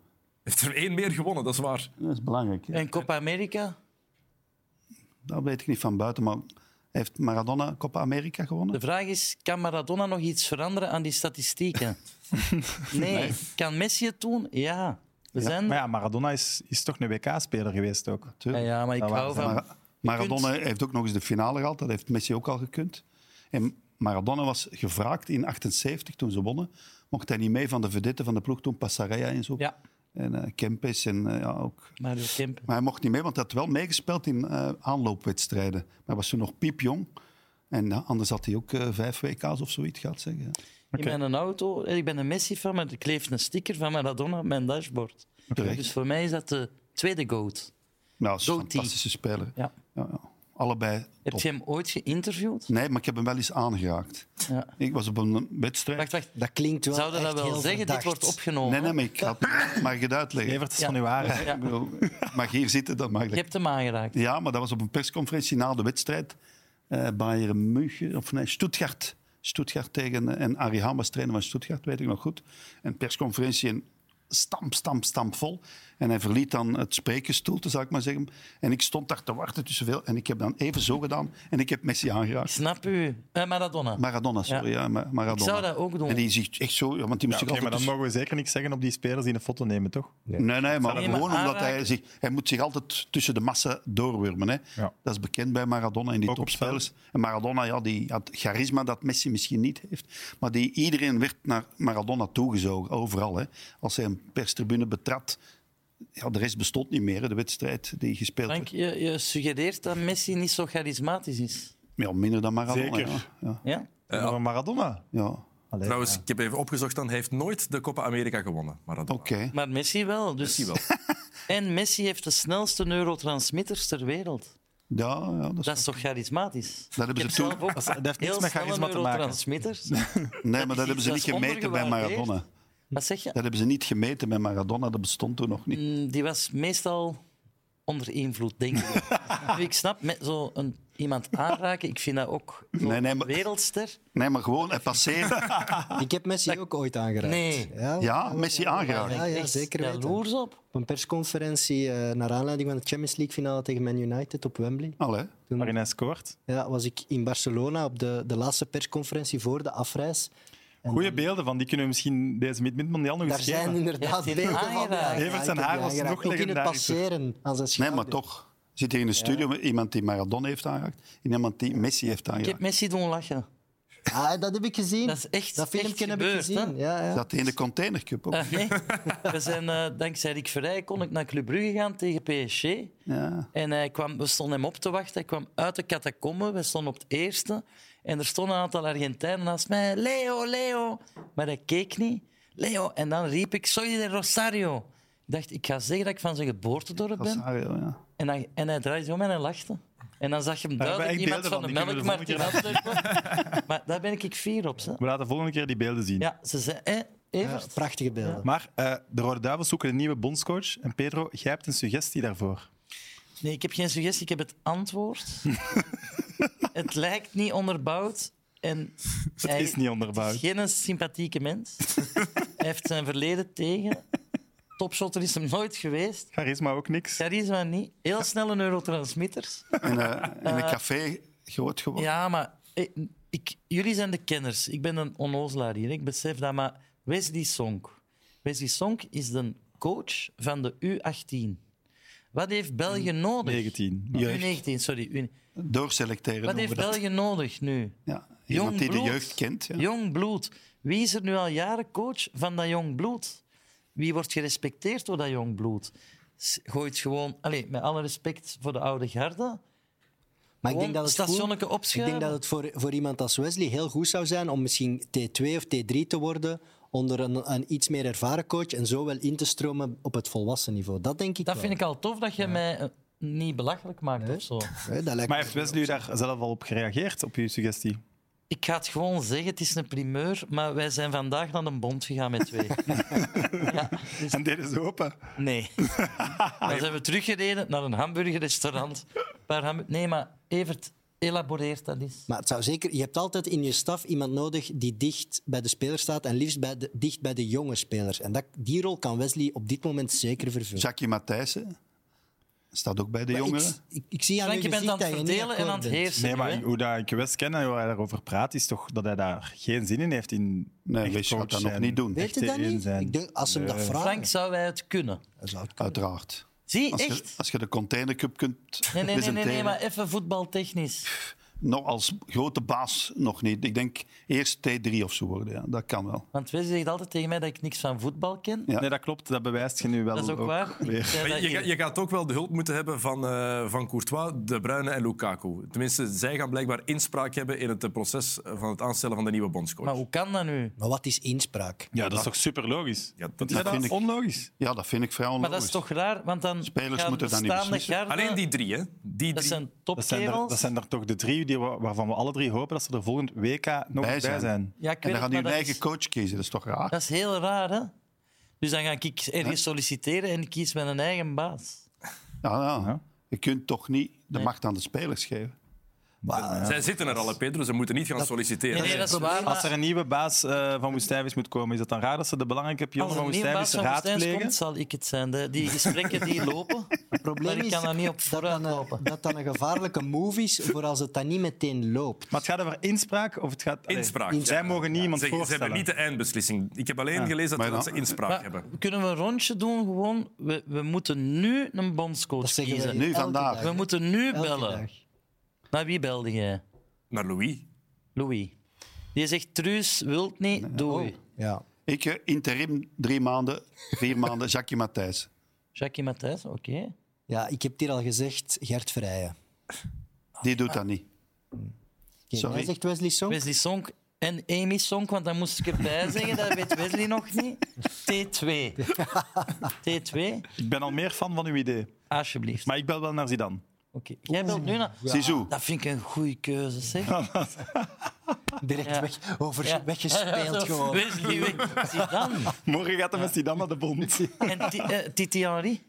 [SPEAKER 6] heeft er één meer gewonnen, dat is waar.
[SPEAKER 3] Dat is belangrijk. hè.
[SPEAKER 4] En Copa America,
[SPEAKER 3] Dat weet ik niet van buiten, maar heeft Maradona Copa America
[SPEAKER 4] de
[SPEAKER 3] gewonnen?
[SPEAKER 4] vraag is, kan Maradona nog iets veranderen aan die statistieken? Nee. Kan Messi het doen? Ja. We zijn...
[SPEAKER 1] Maar ja, Maradona is, is toch een WK-speler geweest ook.
[SPEAKER 4] Ja, ja, maar ik
[SPEAKER 1] Dat
[SPEAKER 4] hou
[SPEAKER 1] waren
[SPEAKER 4] van...
[SPEAKER 3] Mara- Maradona heeft ook nog eens de finale gehaald. Dat heeft Messi ook al gekund. En Maradona was gevraagd in 78 toen ze wonnen. Mocht hij niet mee van de vedette van de ploeg toen, Passarella en zo.
[SPEAKER 4] Ja,
[SPEAKER 3] En eh, Kempes en eh, ja, ook.
[SPEAKER 4] Mario Kemp.
[SPEAKER 3] Maar hij mocht niet mee, want hij had wel meegespeeld in eh, aanloopwedstrijden. Maar hij was toen nog piepjong. En ja, anders had hij ook eh, vijf WK's of zoiets gehad, Nou, zeggen.
[SPEAKER 4] Ik ben een auto, eh, ik ben een Messi-fan, maar er kleeft een sticker van Maradona op mijn dashboard.
[SPEAKER 3] Terecht.
[SPEAKER 4] Dus voor mij is dat de tweede goat.
[SPEAKER 3] Nou, dat is een
[SPEAKER 4] Goatie.
[SPEAKER 3] fantastische speler.
[SPEAKER 4] Ja.
[SPEAKER 3] Ja, ja. Allebei
[SPEAKER 4] Heb
[SPEAKER 3] top.
[SPEAKER 4] je hem ooit geïnterviewd?
[SPEAKER 3] Nee, maar ik heb hem wel eens aangeraakt.
[SPEAKER 4] Ja.
[SPEAKER 3] Ik was op een wedstrijd.
[SPEAKER 4] Wacht, wacht.
[SPEAKER 2] Dat klinkt wel
[SPEAKER 4] Zouden we dat
[SPEAKER 2] echt
[SPEAKER 4] wel
[SPEAKER 2] heel
[SPEAKER 4] zeggen?
[SPEAKER 2] verdacht.
[SPEAKER 4] Dit wordt opgenomen.
[SPEAKER 3] Nee, nee, maar ik ga het, mag ik het uitleggen?
[SPEAKER 1] Evert is
[SPEAKER 4] Ja.
[SPEAKER 1] van uw haren.
[SPEAKER 4] Ja.
[SPEAKER 3] Ik bedoel, ik mag hier zitten, dat mag
[SPEAKER 4] Je
[SPEAKER 3] ik.
[SPEAKER 4] hebt hem aangeraakt.
[SPEAKER 3] Ja, maar dat was op een persconferentie na de wedstrijd. eh Bayern München, of nee, Stuttgart. Stuttgart tegen, eh, en Arie Haan was trainer van Stuttgart, weet ik nog goed. En persconferentie en stamp, stamp, stamp vol. En hij verliet dan het sprekersstoelte, zou ik maar zeggen. En ik stond daar te wachten tussen veel. En ik heb dan even zo gedaan en ik heb Messi aangeraakt.
[SPEAKER 4] Ik snap u. Eh, Maradona.
[SPEAKER 3] Maradona, sorry. Ja. Ma- Maradona.
[SPEAKER 4] Ik zou dat ook doen.
[SPEAKER 3] En die ziet echt zo, ja, want die moest
[SPEAKER 1] Oké,
[SPEAKER 3] zich
[SPEAKER 1] maar
[SPEAKER 3] altijd dus-
[SPEAKER 1] dan mogen we zeker niks zeggen op die spelers die een foto nemen, toch?
[SPEAKER 3] Nee, nee, maar
[SPEAKER 4] Nee, maar
[SPEAKER 3] gewoon omdat hij
[SPEAKER 4] aanraken.
[SPEAKER 3] zich... Hij moet zich altijd tussen de massa doorwurmen. Hè.
[SPEAKER 1] Ja.
[SPEAKER 3] Dat is bekend bij Maradona en die
[SPEAKER 1] Ook op
[SPEAKER 3] topspelers. En Maradona ja, die had charisma dat Messi misschien niet heeft. Maar die, iedereen werd naar Maradona toegezogen, overal. Hè. Als hij een perstribune betrad... Ja, de rest bestond niet meer, hè, de wedstrijd die gespeeld
[SPEAKER 4] Frank,
[SPEAKER 3] werd.
[SPEAKER 4] je, je suggereert dat Messi niet zo charismatisch is.
[SPEAKER 3] Ja, minder dan Maradona.
[SPEAKER 1] Zeker.
[SPEAKER 3] Ja. Ja,
[SPEAKER 4] Ja?
[SPEAKER 1] Maar Maradona?
[SPEAKER 3] ja.
[SPEAKER 1] Allee,
[SPEAKER 6] Trouwens, ik heb even opgezocht, dan hij heeft nooit de Copa America gewonnen. Maar dat
[SPEAKER 3] Oké.
[SPEAKER 4] Maar Messi wel. Dus...
[SPEAKER 6] Messi wel.
[SPEAKER 4] En Messi heeft de snelste neurotransmitters ter wereld.
[SPEAKER 3] Ja, ja, dat is...
[SPEAKER 4] Dat is toch
[SPEAKER 1] Dus
[SPEAKER 4] charismatisch?
[SPEAKER 3] Dat hebben
[SPEAKER 4] Ik heb
[SPEAKER 3] ze toen-
[SPEAKER 4] zelf ook
[SPEAKER 1] dat heeft niks
[SPEAKER 4] heel
[SPEAKER 1] met
[SPEAKER 4] snelle
[SPEAKER 1] charisma te maken.
[SPEAKER 4] neurotransmitters.
[SPEAKER 3] nee, maar dat
[SPEAKER 4] is
[SPEAKER 3] hebben ze niet
[SPEAKER 4] iets dat is
[SPEAKER 3] gemeten bij
[SPEAKER 4] ondergewaardeerd.
[SPEAKER 3] Maradona.
[SPEAKER 4] Wat zeg je?
[SPEAKER 3] Dat hebben ze niet gemeten bij Maradona, dat bestond toen nog niet.
[SPEAKER 4] Mm, Die was meestal onder invloed, denk ik. Nu, ik snap, met zo'n iemand aanraken. Ik vind dat ook voor
[SPEAKER 3] Nee, nee, maar-
[SPEAKER 4] een wereldster.
[SPEAKER 3] Nee, maar gewoon eh, passeren.
[SPEAKER 2] Ik heb Messi ook ooit aangeraakt.
[SPEAKER 4] Nee.
[SPEAKER 2] Ja,
[SPEAKER 4] Oh,
[SPEAKER 3] Ja, Messi aangeraakt.
[SPEAKER 2] ja, ja,
[SPEAKER 4] Echt
[SPEAKER 2] zeker weten.
[SPEAKER 4] jaloers op.
[SPEAKER 2] Op een persconferentie eh, naar aanleiding van de Champions League finale tegen Man United op Wembley.
[SPEAKER 3] Allee.
[SPEAKER 1] waarin hij scoort.
[SPEAKER 2] Ja, was ik in Barcelona op de, de laatste persconferentie voor de afreis.
[SPEAKER 1] Goeie beelden van, die kunnen we misschien deze mid-mondial nog
[SPEAKER 2] Daar
[SPEAKER 1] eens
[SPEAKER 2] zijn
[SPEAKER 1] geven.
[SPEAKER 2] inderdaad
[SPEAKER 4] Heeft hij
[SPEAKER 2] beelden van.
[SPEAKER 4] aangeraakt?
[SPEAKER 2] Ja, ja,
[SPEAKER 1] Evert zijn
[SPEAKER 2] ik heb
[SPEAKER 1] haar
[SPEAKER 2] die
[SPEAKER 1] was
[SPEAKER 2] aangeraakt.
[SPEAKER 1] nog
[SPEAKER 2] Ook in het
[SPEAKER 1] legendarischer.
[SPEAKER 2] passeren aan zijn
[SPEAKER 3] Nee,
[SPEAKER 2] schouder.
[SPEAKER 3] maar toch. Zit hier in een studio met iemand die Maradona heeft aangeraakt en iemand die Messi heeft
[SPEAKER 4] Ik heb
[SPEAKER 3] aangeraakt.
[SPEAKER 4] Messi doen lachen.
[SPEAKER 2] Ah, dat heb ik gezien.
[SPEAKER 4] Dat is echt-
[SPEAKER 2] Dat filmpje
[SPEAKER 4] echt
[SPEAKER 2] heb ik
[SPEAKER 4] gebeurd,
[SPEAKER 2] gezien.
[SPEAKER 4] hè?
[SPEAKER 2] Ja, ja.
[SPEAKER 3] Zat hij in de containercup ook?
[SPEAKER 4] Ah, nee. We zijn, eh, dankzij Rick Verrij kon ik naar Club Brugge gaan tegen PSG.
[SPEAKER 3] Ja.
[SPEAKER 4] En hij kwam, we stonden hem op te wachten. Hij kwam uit de catacombe. We stonden op het eerste. En er stonden een aantal Argentijnen naast mij. Leo, Leo. Maar hij keek niet. Leo. En dan riep ik, soy de Rosario. Ik dacht, ik ga zeggen dat ik van zijn geboortedorp ben.
[SPEAKER 3] Rosario, ja.
[SPEAKER 4] En, dan, en hij draaide zich om en hij lachte. En dan zag je hem
[SPEAKER 1] Daar hebben we
[SPEAKER 4] duidelijk
[SPEAKER 1] echt
[SPEAKER 4] iemand van
[SPEAKER 1] beelden
[SPEAKER 4] de
[SPEAKER 1] van. Die
[SPEAKER 4] melkmarkt
[SPEAKER 1] kunnen
[SPEAKER 4] in
[SPEAKER 1] we de
[SPEAKER 4] Antwerpen. maar daar ben ik fier op. Ze.
[SPEAKER 1] We laten de volgende keer die beelden zien.
[SPEAKER 4] Ja, ze zei... Eh,
[SPEAKER 2] Ja,
[SPEAKER 4] Evert?
[SPEAKER 2] prachtige beelden.
[SPEAKER 1] Maar eh, de Rode Duivels zoeken een nieuwe bondscoach. En Pedro, jij hebt een suggestie daarvoor.
[SPEAKER 4] Nee, ik heb geen suggestie, ik heb het antwoord. het lijkt niet onderbouwd. En het
[SPEAKER 1] is niet onderbouwd.
[SPEAKER 4] Het is geen sympathieke mens. hij heeft zijn verleden tegen. Topshotter is hem nooit geweest.
[SPEAKER 1] Charisma ook niks.
[SPEAKER 4] Charisma niet. Heel snel een neurotransmitters.
[SPEAKER 3] In, eh, in een café groot geworden.
[SPEAKER 4] Ja, maar ik, ik- jullie zijn de kenners. Ik ben een onnozelaar hier. Ik besef dat, maar Wesley Sonk. Wesley Sonk is de coach van de U18. Wat heeft België nodig?
[SPEAKER 1] 19.
[SPEAKER 4] U19, sorry. U-
[SPEAKER 3] Doorselecteren
[SPEAKER 4] Wat
[SPEAKER 3] noemen
[SPEAKER 4] heeft
[SPEAKER 3] we dat.
[SPEAKER 4] België nodig nu?
[SPEAKER 3] Ja. Iemand die de
[SPEAKER 4] bloed.
[SPEAKER 3] jeugd kent. Ja.
[SPEAKER 4] Jong bloed. Wie is er nu al jaren coach van dat jong bloed? Wie wordt gerespecteerd door dat jong bloed? S- Gooit gewoon, allez, met alle respect voor de oude garde.
[SPEAKER 2] Maar ik
[SPEAKER 4] Gewoon
[SPEAKER 2] denk dat het goed-
[SPEAKER 4] stationneke
[SPEAKER 2] Ik
[SPEAKER 4] opschuiven.
[SPEAKER 2] denk dat het voor, voor iemand als Wesley heel goed zou zijn om misschien T2 of T3 te worden onder een, een iets meer ervaren coach en zo wel in te stromen op het volwassen niveau. Dat denk ik
[SPEAKER 4] Dat
[SPEAKER 2] wel.
[SPEAKER 4] vind ik al tof dat je mij eh, niet belachelijk maakt of zo.
[SPEAKER 2] Hè, dat lijkt
[SPEAKER 1] Maar
[SPEAKER 2] me-
[SPEAKER 1] heeft Wesley u daar zelf al op gereageerd, op uw suggestie?
[SPEAKER 4] Ik ga het gewoon zeggen, het is een primeur, maar wij zijn vandaag naar een bond gegaan met twee.
[SPEAKER 1] En dit is open.
[SPEAKER 4] Nee. Dan zijn we teruggereden naar een hamburgerrestaurant. Een paar hambu- nee, maar Evert, elaboreert dat eens.
[SPEAKER 2] Maar het zou zeker, je hebt altijd in je staf iemand nodig die dicht bij de speler staat en liefst bij de, dicht bij de jonge spelers. En dat, die rol kan Wesley op dit moment zeker vervullen.
[SPEAKER 3] Jackie Matthijssen staat ook bij de
[SPEAKER 2] Maar ik,
[SPEAKER 3] jongeren.
[SPEAKER 2] ik, ik zie aan uw
[SPEAKER 4] Frank, je bent
[SPEAKER 2] gezicht
[SPEAKER 4] aan het
[SPEAKER 2] dat je niet
[SPEAKER 4] verdelen en aan
[SPEAKER 2] akkoord
[SPEAKER 4] het
[SPEAKER 2] bent.
[SPEAKER 4] heersen.
[SPEAKER 1] Nee,
[SPEAKER 4] nu, hè?
[SPEAKER 1] maar hoe dat ik West ken en hoe hij daarover praat, is toch dat hij daar geen zin in heeft in
[SPEAKER 3] Nee,
[SPEAKER 1] echt
[SPEAKER 3] Wees gaat
[SPEAKER 1] coach
[SPEAKER 3] dat nog
[SPEAKER 1] zijn.
[SPEAKER 3] niet doen.
[SPEAKER 2] Weet je
[SPEAKER 1] Echte
[SPEAKER 2] dat
[SPEAKER 1] één
[SPEAKER 2] niet?
[SPEAKER 1] zijn.
[SPEAKER 2] Ik denk, als ze hem dat vragen,
[SPEAKER 4] Frank, zou wij het kunnen?
[SPEAKER 2] dan zou het kunnen.
[SPEAKER 3] Uiteraard.
[SPEAKER 4] Zie,
[SPEAKER 3] Als je,
[SPEAKER 4] echt?
[SPEAKER 3] als je de containercup kunt
[SPEAKER 4] Nee, nee, nee, nee,
[SPEAKER 3] presenteren.
[SPEAKER 4] nee, maar even voetbaltechnisch.
[SPEAKER 3] nog als grote baas nog niet. Ik denk eerst T3 of zo worden. Ja. Dat kan wel.
[SPEAKER 4] Want Wesley zegt altijd tegen mij dat ik niks van voetbal ken.
[SPEAKER 3] Ja.
[SPEAKER 1] Nee, dat klopt. Dat bewijst je nu wel
[SPEAKER 4] Dat is ook, waar. Ik
[SPEAKER 1] weer.
[SPEAKER 4] zei
[SPEAKER 6] Maar
[SPEAKER 4] dat
[SPEAKER 6] je,
[SPEAKER 4] hier.
[SPEAKER 6] ga- je gaat ook wel de hulp moeten hebben van, eh, van Courtois, De Bruyne en Lukaku. Tenminste, zij gaan blijkbaar inspraak hebben in het eh, proces van het aanstellen van de nieuwe bondscoach.
[SPEAKER 4] Maar hoe kan dat nu?
[SPEAKER 2] Maar wat is inspraak?
[SPEAKER 1] Ja, dat is toch super logisch?
[SPEAKER 6] Ja, dat-
[SPEAKER 1] dat,
[SPEAKER 3] dat vind
[SPEAKER 1] is
[SPEAKER 3] ik-
[SPEAKER 1] onlogisch.
[SPEAKER 3] Ja, dat vind ik vrij
[SPEAKER 4] Maar
[SPEAKER 3] onlogisch.
[SPEAKER 4] dat is toch raar, want dan
[SPEAKER 3] Spelers
[SPEAKER 4] gaan
[SPEAKER 3] moeten dat niet
[SPEAKER 4] bestaande
[SPEAKER 3] beslissen.
[SPEAKER 4] garden-
[SPEAKER 6] Alleen die drie, hè? Die
[SPEAKER 4] Dat zijn
[SPEAKER 6] drie.
[SPEAKER 1] Dat zijn, er,
[SPEAKER 4] topkerels.
[SPEAKER 1] dat zijn er toch de drie die, wa- waarvan we alle drie hopen dat ze er volgend WK nog
[SPEAKER 3] Bij
[SPEAKER 1] bij
[SPEAKER 3] zijn.
[SPEAKER 1] zijn.
[SPEAKER 4] Ja, ik weet
[SPEAKER 3] En dan
[SPEAKER 4] het,
[SPEAKER 3] gaan
[SPEAKER 4] maar
[SPEAKER 3] die hun
[SPEAKER 4] dat
[SPEAKER 3] eigen
[SPEAKER 4] is-
[SPEAKER 3] coach kiezen. Dat is toch raar?
[SPEAKER 4] Dat is heel raar, hè? Dus dan ga ik ergens solliciteren en ik kies met een eigen baas.
[SPEAKER 3] Ja, ja.
[SPEAKER 1] Ja.
[SPEAKER 3] Nou, Je kunt toch niet de macht aan de spelers geven.
[SPEAKER 6] Zij zitten er al, hè, Pedro. Ze moeten niet gaan solliciteren.
[SPEAKER 4] Nee, nee, dat is waar.
[SPEAKER 1] Als er
[SPEAKER 4] maar
[SPEAKER 1] een nieuwe baas eh, van Woestijvis moet komen, is het dan raar dat ze de belangrijke pionnen
[SPEAKER 4] als
[SPEAKER 1] van
[SPEAKER 4] er niet een baas
[SPEAKER 1] Woestijvis
[SPEAKER 4] van Woestijns
[SPEAKER 1] raadplegen?
[SPEAKER 4] komt, zal ik het zijn. De- die gesprekken die lopen,
[SPEAKER 2] Het probleem
[SPEAKER 4] maar ik
[SPEAKER 2] is
[SPEAKER 4] kan daar niet op
[SPEAKER 2] dat,
[SPEAKER 4] vooruit
[SPEAKER 2] dan een,
[SPEAKER 4] lopen.
[SPEAKER 2] dat dan een gevaarlijke move is voor als het dan niet meteen loopt.
[SPEAKER 1] Maar het gaat over inspraak of het gaat... Allee,
[SPEAKER 6] Inspraak.
[SPEAKER 1] Zij
[SPEAKER 6] ja.
[SPEAKER 1] mogen niemand
[SPEAKER 6] Ze, ze
[SPEAKER 1] voorstellen.
[SPEAKER 6] hebben niet de eindbeslissing. Ik heb alleen gelezen dat,
[SPEAKER 3] Maar
[SPEAKER 6] dat
[SPEAKER 3] dan-
[SPEAKER 6] ze inspraak
[SPEAKER 4] Maar
[SPEAKER 6] hebben.
[SPEAKER 4] kunnen we een rondje doen? Gewoon, we, we moeten nu een bondscoach
[SPEAKER 2] Dat zeggen we
[SPEAKER 4] kiezen.
[SPEAKER 3] Nu,
[SPEAKER 2] elke
[SPEAKER 3] vandaag.
[SPEAKER 2] dag.
[SPEAKER 4] We moeten nu
[SPEAKER 2] Elke
[SPEAKER 4] bellen.
[SPEAKER 2] dag.
[SPEAKER 4] Naar wie belde jij?
[SPEAKER 6] Naar Louis.
[SPEAKER 4] Louis. Die zegt, Truus wilt niet, doei.
[SPEAKER 2] oh. Ja.
[SPEAKER 3] Ik eh, interim drie maanden, vier maanden, Jackie Matthijs.
[SPEAKER 4] Jackie Matthijs, oké.
[SPEAKER 2] ja, ik heb het hier al gezegd, Gert Vrijen.
[SPEAKER 3] Die doet dat niet.
[SPEAKER 2] Kijk,
[SPEAKER 3] Sorry.
[SPEAKER 2] Hij zegt Wesley Song.
[SPEAKER 4] Wesley Sonk en Amy Sonk, want dat moest ik erbij zeggen, dat weet Wesley nog niet. T2. T2,
[SPEAKER 1] Ik ben al meer fan van uw idee.
[SPEAKER 4] alsjeblieft.
[SPEAKER 1] Maar ik bel wel naar Zidane.
[SPEAKER 4] Oké. Jij belt nu naar... Ah,
[SPEAKER 3] Zizou.
[SPEAKER 4] Dat vind ik een goede keuze, zeg.
[SPEAKER 2] Direct
[SPEAKER 4] Ja.
[SPEAKER 2] weg, over,
[SPEAKER 4] Ja.
[SPEAKER 2] weggespeeld
[SPEAKER 4] Ja, zo.
[SPEAKER 2] gewoon.
[SPEAKER 4] Wesley weg. Zie dan.
[SPEAKER 1] Morgen gaat hij met Zidane naar de bond.
[SPEAKER 4] En Ti- eh, Titi Henry?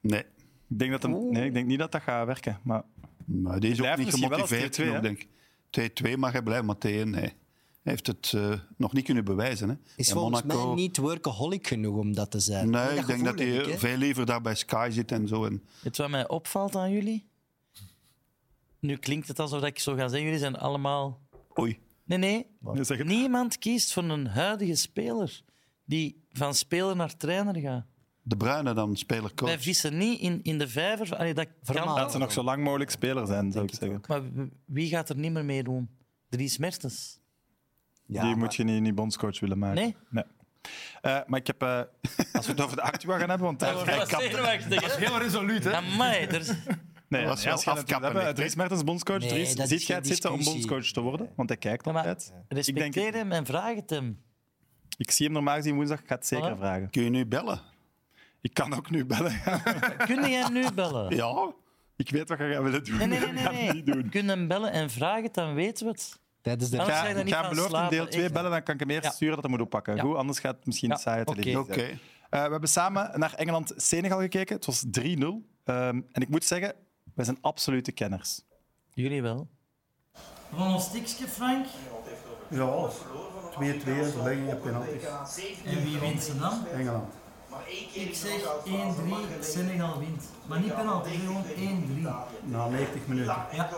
[SPEAKER 3] Nee.
[SPEAKER 1] Ik denk, dat hem, nee, ik denk niet dat dat gaat werken. Maar
[SPEAKER 3] Maar die is ook
[SPEAKER 1] Blijft
[SPEAKER 3] niet
[SPEAKER 1] misschien wel als
[SPEAKER 3] gemotiveerd
[SPEAKER 1] 2-2, hè?
[SPEAKER 3] genoeg, denk ik. 2-2 mag hij blijven, maar 2-1, nee. Hij heeft het eh, nog niet kunnen bewijzen. Hè.
[SPEAKER 2] Is
[SPEAKER 3] En
[SPEAKER 2] volgens
[SPEAKER 3] Monaco-
[SPEAKER 2] mij niet workaholic genoeg om dat te zijn.
[SPEAKER 3] Nee, ik denk
[SPEAKER 2] gevoel
[SPEAKER 3] dat
[SPEAKER 2] heb
[SPEAKER 3] hij eh,
[SPEAKER 2] ik, hè.
[SPEAKER 3] veel liever daar bij Sky zit en zo. En
[SPEAKER 4] Weet je wat mij opvalt aan jullie? Nu klinkt het alsof ik zo ga zeggen, jullie zijn allemaal...
[SPEAKER 3] Oei.
[SPEAKER 4] Nee, nee.
[SPEAKER 1] Nee, zeg het.
[SPEAKER 4] Niemand kiest voor een huidige speler die van speler naar trainer gaat.
[SPEAKER 3] De Bruyne dan, spelercoach.
[SPEAKER 4] Wij vissen niet in, in de vijver. Allee, dat kan
[SPEAKER 2] Vermaat.
[SPEAKER 4] wel.
[SPEAKER 1] Laat ze nog zo lang mogelijk speler zijn, zou ik zeggen.
[SPEAKER 4] Maar w- wie gaat er niet meer mee doen? Dries Mertens.
[SPEAKER 2] Ja,
[SPEAKER 1] Die
[SPEAKER 2] maar-
[SPEAKER 1] moet je niet, niet bondscoach willen maken.
[SPEAKER 4] Nee?
[SPEAKER 1] Eh, maar ik heb, eh, als we het over de actua gaan hebben, want daar
[SPEAKER 4] Dat was zenuwachtig, hè?
[SPEAKER 6] Heel resoluut, hè?
[SPEAKER 4] Amai, dus- er is-
[SPEAKER 1] Nee,
[SPEAKER 3] Dat was
[SPEAKER 1] ja, als je
[SPEAKER 3] wel
[SPEAKER 1] het
[SPEAKER 3] afkappen,
[SPEAKER 1] hebben,
[SPEAKER 3] hè?
[SPEAKER 1] Dries Mertens bondscoach.
[SPEAKER 2] Nee,
[SPEAKER 1] Dries,
[SPEAKER 2] dat is
[SPEAKER 1] ziet jij
[SPEAKER 2] geen
[SPEAKER 1] het zitten om
[SPEAKER 2] discussie.
[SPEAKER 1] bondscoach te worden? Want hij kijkt
[SPEAKER 4] Ja, maar
[SPEAKER 1] altijd. Ik,
[SPEAKER 4] respecteer
[SPEAKER 1] denk,
[SPEAKER 4] hem en vraag het hem.
[SPEAKER 1] ik zie hem normaal gezien woensdag. Ik ga het zeker
[SPEAKER 4] Voilà.
[SPEAKER 1] vragen.
[SPEAKER 3] Kun je nu bellen?
[SPEAKER 1] Ik kan ook nu bellen.
[SPEAKER 4] Kun jij hem nu bellen?
[SPEAKER 3] Ja.
[SPEAKER 1] ik weet wat je gaat willen doen.
[SPEAKER 4] Nee, nee, nee.
[SPEAKER 1] Ik ga het
[SPEAKER 4] nee,
[SPEAKER 1] niet
[SPEAKER 4] nee.
[SPEAKER 1] doen.
[SPEAKER 4] Kun hem bellen en vraag het, dan weten we het.
[SPEAKER 2] Tijdens de
[SPEAKER 1] Ik
[SPEAKER 4] Anders
[SPEAKER 1] ga,
[SPEAKER 4] ga je daar
[SPEAKER 1] ik
[SPEAKER 4] niet
[SPEAKER 1] ga
[SPEAKER 4] van
[SPEAKER 1] beloofd in
[SPEAKER 4] slapen,
[SPEAKER 1] deel 2
[SPEAKER 4] echt.
[SPEAKER 1] bellen, dan kan ik hem eerst
[SPEAKER 4] Ja.
[SPEAKER 1] sturen dat hij moet oppakken.
[SPEAKER 4] Ja,
[SPEAKER 1] Goed, anders gaat het misschien
[SPEAKER 4] Ja,
[SPEAKER 1] saaie
[SPEAKER 4] oké.
[SPEAKER 1] televisie
[SPEAKER 3] Oké.
[SPEAKER 1] zijn. Eh, we hebben samen naar Engeland-Senegal gekeken. Het was 3-0. Ehm, en ik moet zeggen, wij zijn absolute kenners.
[SPEAKER 4] Jullie wel. Van ons tikje, Frank.
[SPEAKER 7] Ja, 2-2, verlengingen, penalties.
[SPEAKER 4] En wie wint ze dan?
[SPEAKER 7] Engeland.
[SPEAKER 4] Ik zeg 1-3, Senegal wint. Maar niet penalty, gewoon 1-3.
[SPEAKER 7] Na 90 minuten.
[SPEAKER 4] Ja.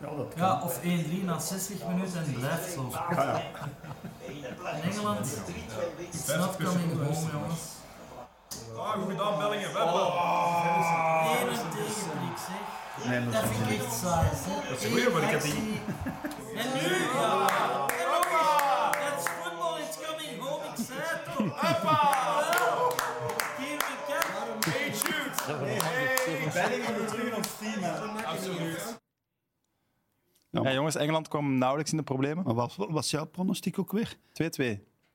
[SPEAKER 7] Ja, dat kan.
[SPEAKER 4] Ja, of 1-3 na 60 minuten en het blijft zo. In Engeland, it's not coming home, jongens. Ah, goed gedaan, Bellingen. Wel, Eén tegen ik zeg.
[SPEAKER 7] Nee, maar
[SPEAKER 4] Dat vind ik echt saai, hè. Dat is goed, maar ik heb die... En nu, ja. En nog eens. That's football, it's coming home, ik zei het toch. Hoppa! Hier we kijken. Hey,
[SPEAKER 1] Ja, jongens, Engeland kwam nauwelijks in de problemen. 2-2.
[SPEAKER 3] Maar wat wat was jouw pronostiek ook weer?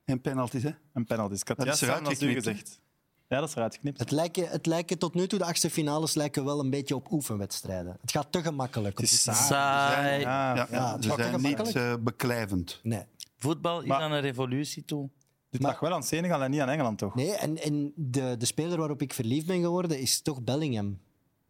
[SPEAKER 3] En penalties, hè?
[SPEAKER 1] En penalties. Ik had
[SPEAKER 3] Dat is
[SPEAKER 1] juist samen
[SPEAKER 3] eruit
[SPEAKER 1] als u
[SPEAKER 3] geknipt,
[SPEAKER 1] gezegd. Ja, dat is eruit geknipt.
[SPEAKER 2] Het lijken, het lijken tot nu toe, de achtste finales lijken wel een beetje op oefenwedstrijden. Het gaat te gemakkelijk. op
[SPEAKER 1] Het is
[SPEAKER 2] dit moment.
[SPEAKER 1] saai.
[SPEAKER 4] Saai.
[SPEAKER 1] Ah, Ja,
[SPEAKER 3] Ja,
[SPEAKER 2] ja, het
[SPEAKER 3] ze
[SPEAKER 2] is ook
[SPEAKER 3] zijn niet
[SPEAKER 2] gemakkelijk.
[SPEAKER 3] eh, beklijvend.
[SPEAKER 2] Nee.
[SPEAKER 4] Voetbal is
[SPEAKER 1] Maar-
[SPEAKER 4] aan een revolutie toe.
[SPEAKER 1] Dit
[SPEAKER 2] Maar-
[SPEAKER 1] lag wel aan Senegal en niet aan Engeland, toch?
[SPEAKER 2] nee, en, en de, de speler waarop ik verliefd ben geworden is toch Bellingham.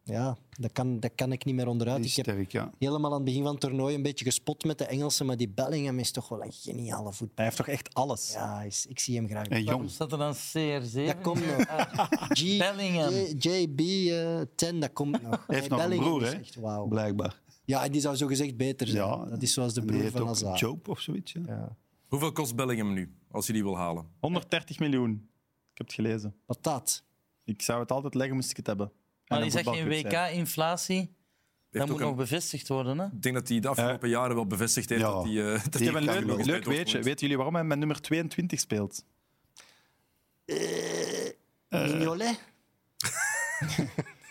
[SPEAKER 2] Ja, dat kan, dat kan ik niet meer onderuit.
[SPEAKER 3] Die
[SPEAKER 2] Ik
[SPEAKER 3] is
[SPEAKER 2] heb
[SPEAKER 3] sterk, ja. Eh,
[SPEAKER 2] helemaal aan het begin van het toernooi een beetje gespot met de Engelsen, maar die Bellingham is toch wel een geniale voetbal.
[SPEAKER 1] Hij heeft toch echt alles?
[SPEAKER 2] Ja, hij is- ik zie hem graag.
[SPEAKER 3] En
[SPEAKER 4] Waarom
[SPEAKER 3] jong.
[SPEAKER 4] staat er dan CR7?
[SPEAKER 2] Dat komt nog.
[SPEAKER 4] Ah,
[SPEAKER 2] G,
[SPEAKER 4] Bellingham.
[SPEAKER 2] J- JB10, dat komt nog.
[SPEAKER 3] Hij heeft nog een broer, hè?
[SPEAKER 2] Wow.
[SPEAKER 3] Blijkbaar.
[SPEAKER 2] Ja, en die zou zogezegd beter zijn.
[SPEAKER 3] Ja.
[SPEAKER 2] dat is zoals de
[SPEAKER 3] En die
[SPEAKER 2] broer
[SPEAKER 3] heet
[SPEAKER 2] van
[SPEAKER 3] ook
[SPEAKER 2] Azar.
[SPEAKER 3] Jope of zoiets, ja.
[SPEAKER 6] Hoeveel kost Bellingham nu, als je die wil halen?
[SPEAKER 1] 130 miljoen. Ik heb het gelezen.
[SPEAKER 2] Wat dat?
[SPEAKER 1] Ik zou het altijd leggen, moest ik het hebben. En
[SPEAKER 4] Maar
[SPEAKER 1] een
[SPEAKER 4] is dat geen
[SPEAKER 1] voetbalclub zijn.
[SPEAKER 4] WK-inflatie?
[SPEAKER 6] Heeft
[SPEAKER 4] Dat moet
[SPEAKER 6] ook
[SPEAKER 4] nog
[SPEAKER 6] een-
[SPEAKER 4] bevestigd worden, hè?
[SPEAKER 6] Ik denk dat hij de afgelopen jaren wel bevestigd heeft
[SPEAKER 3] Ja.
[SPEAKER 6] dat hij... eh,
[SPEAKER 3] Die
[SPEAKER 6] dat
[SPEAKER 1] Ik heb
[SPEAKER 6] hij
[SPEAKER 1] een
[SPEAKER 3] kan
[SPEAKER 6] nog
[SPEAKER 1] leuk,
[SPEAKER 3] je
[SPEAKER 6] eens
[SPEAKER 1] leuk,
[SPEAKER 6] bij
[SPEAKER 1] leuk
[SPEAKER 6] Dortmund
[SPEAKER 1] weetje.
[SPEAKER 6] is.
[SPEAKER 1] Weten jullie waarom hij met nummer 22 speelt?
[SPEAKER 2] Mignolet?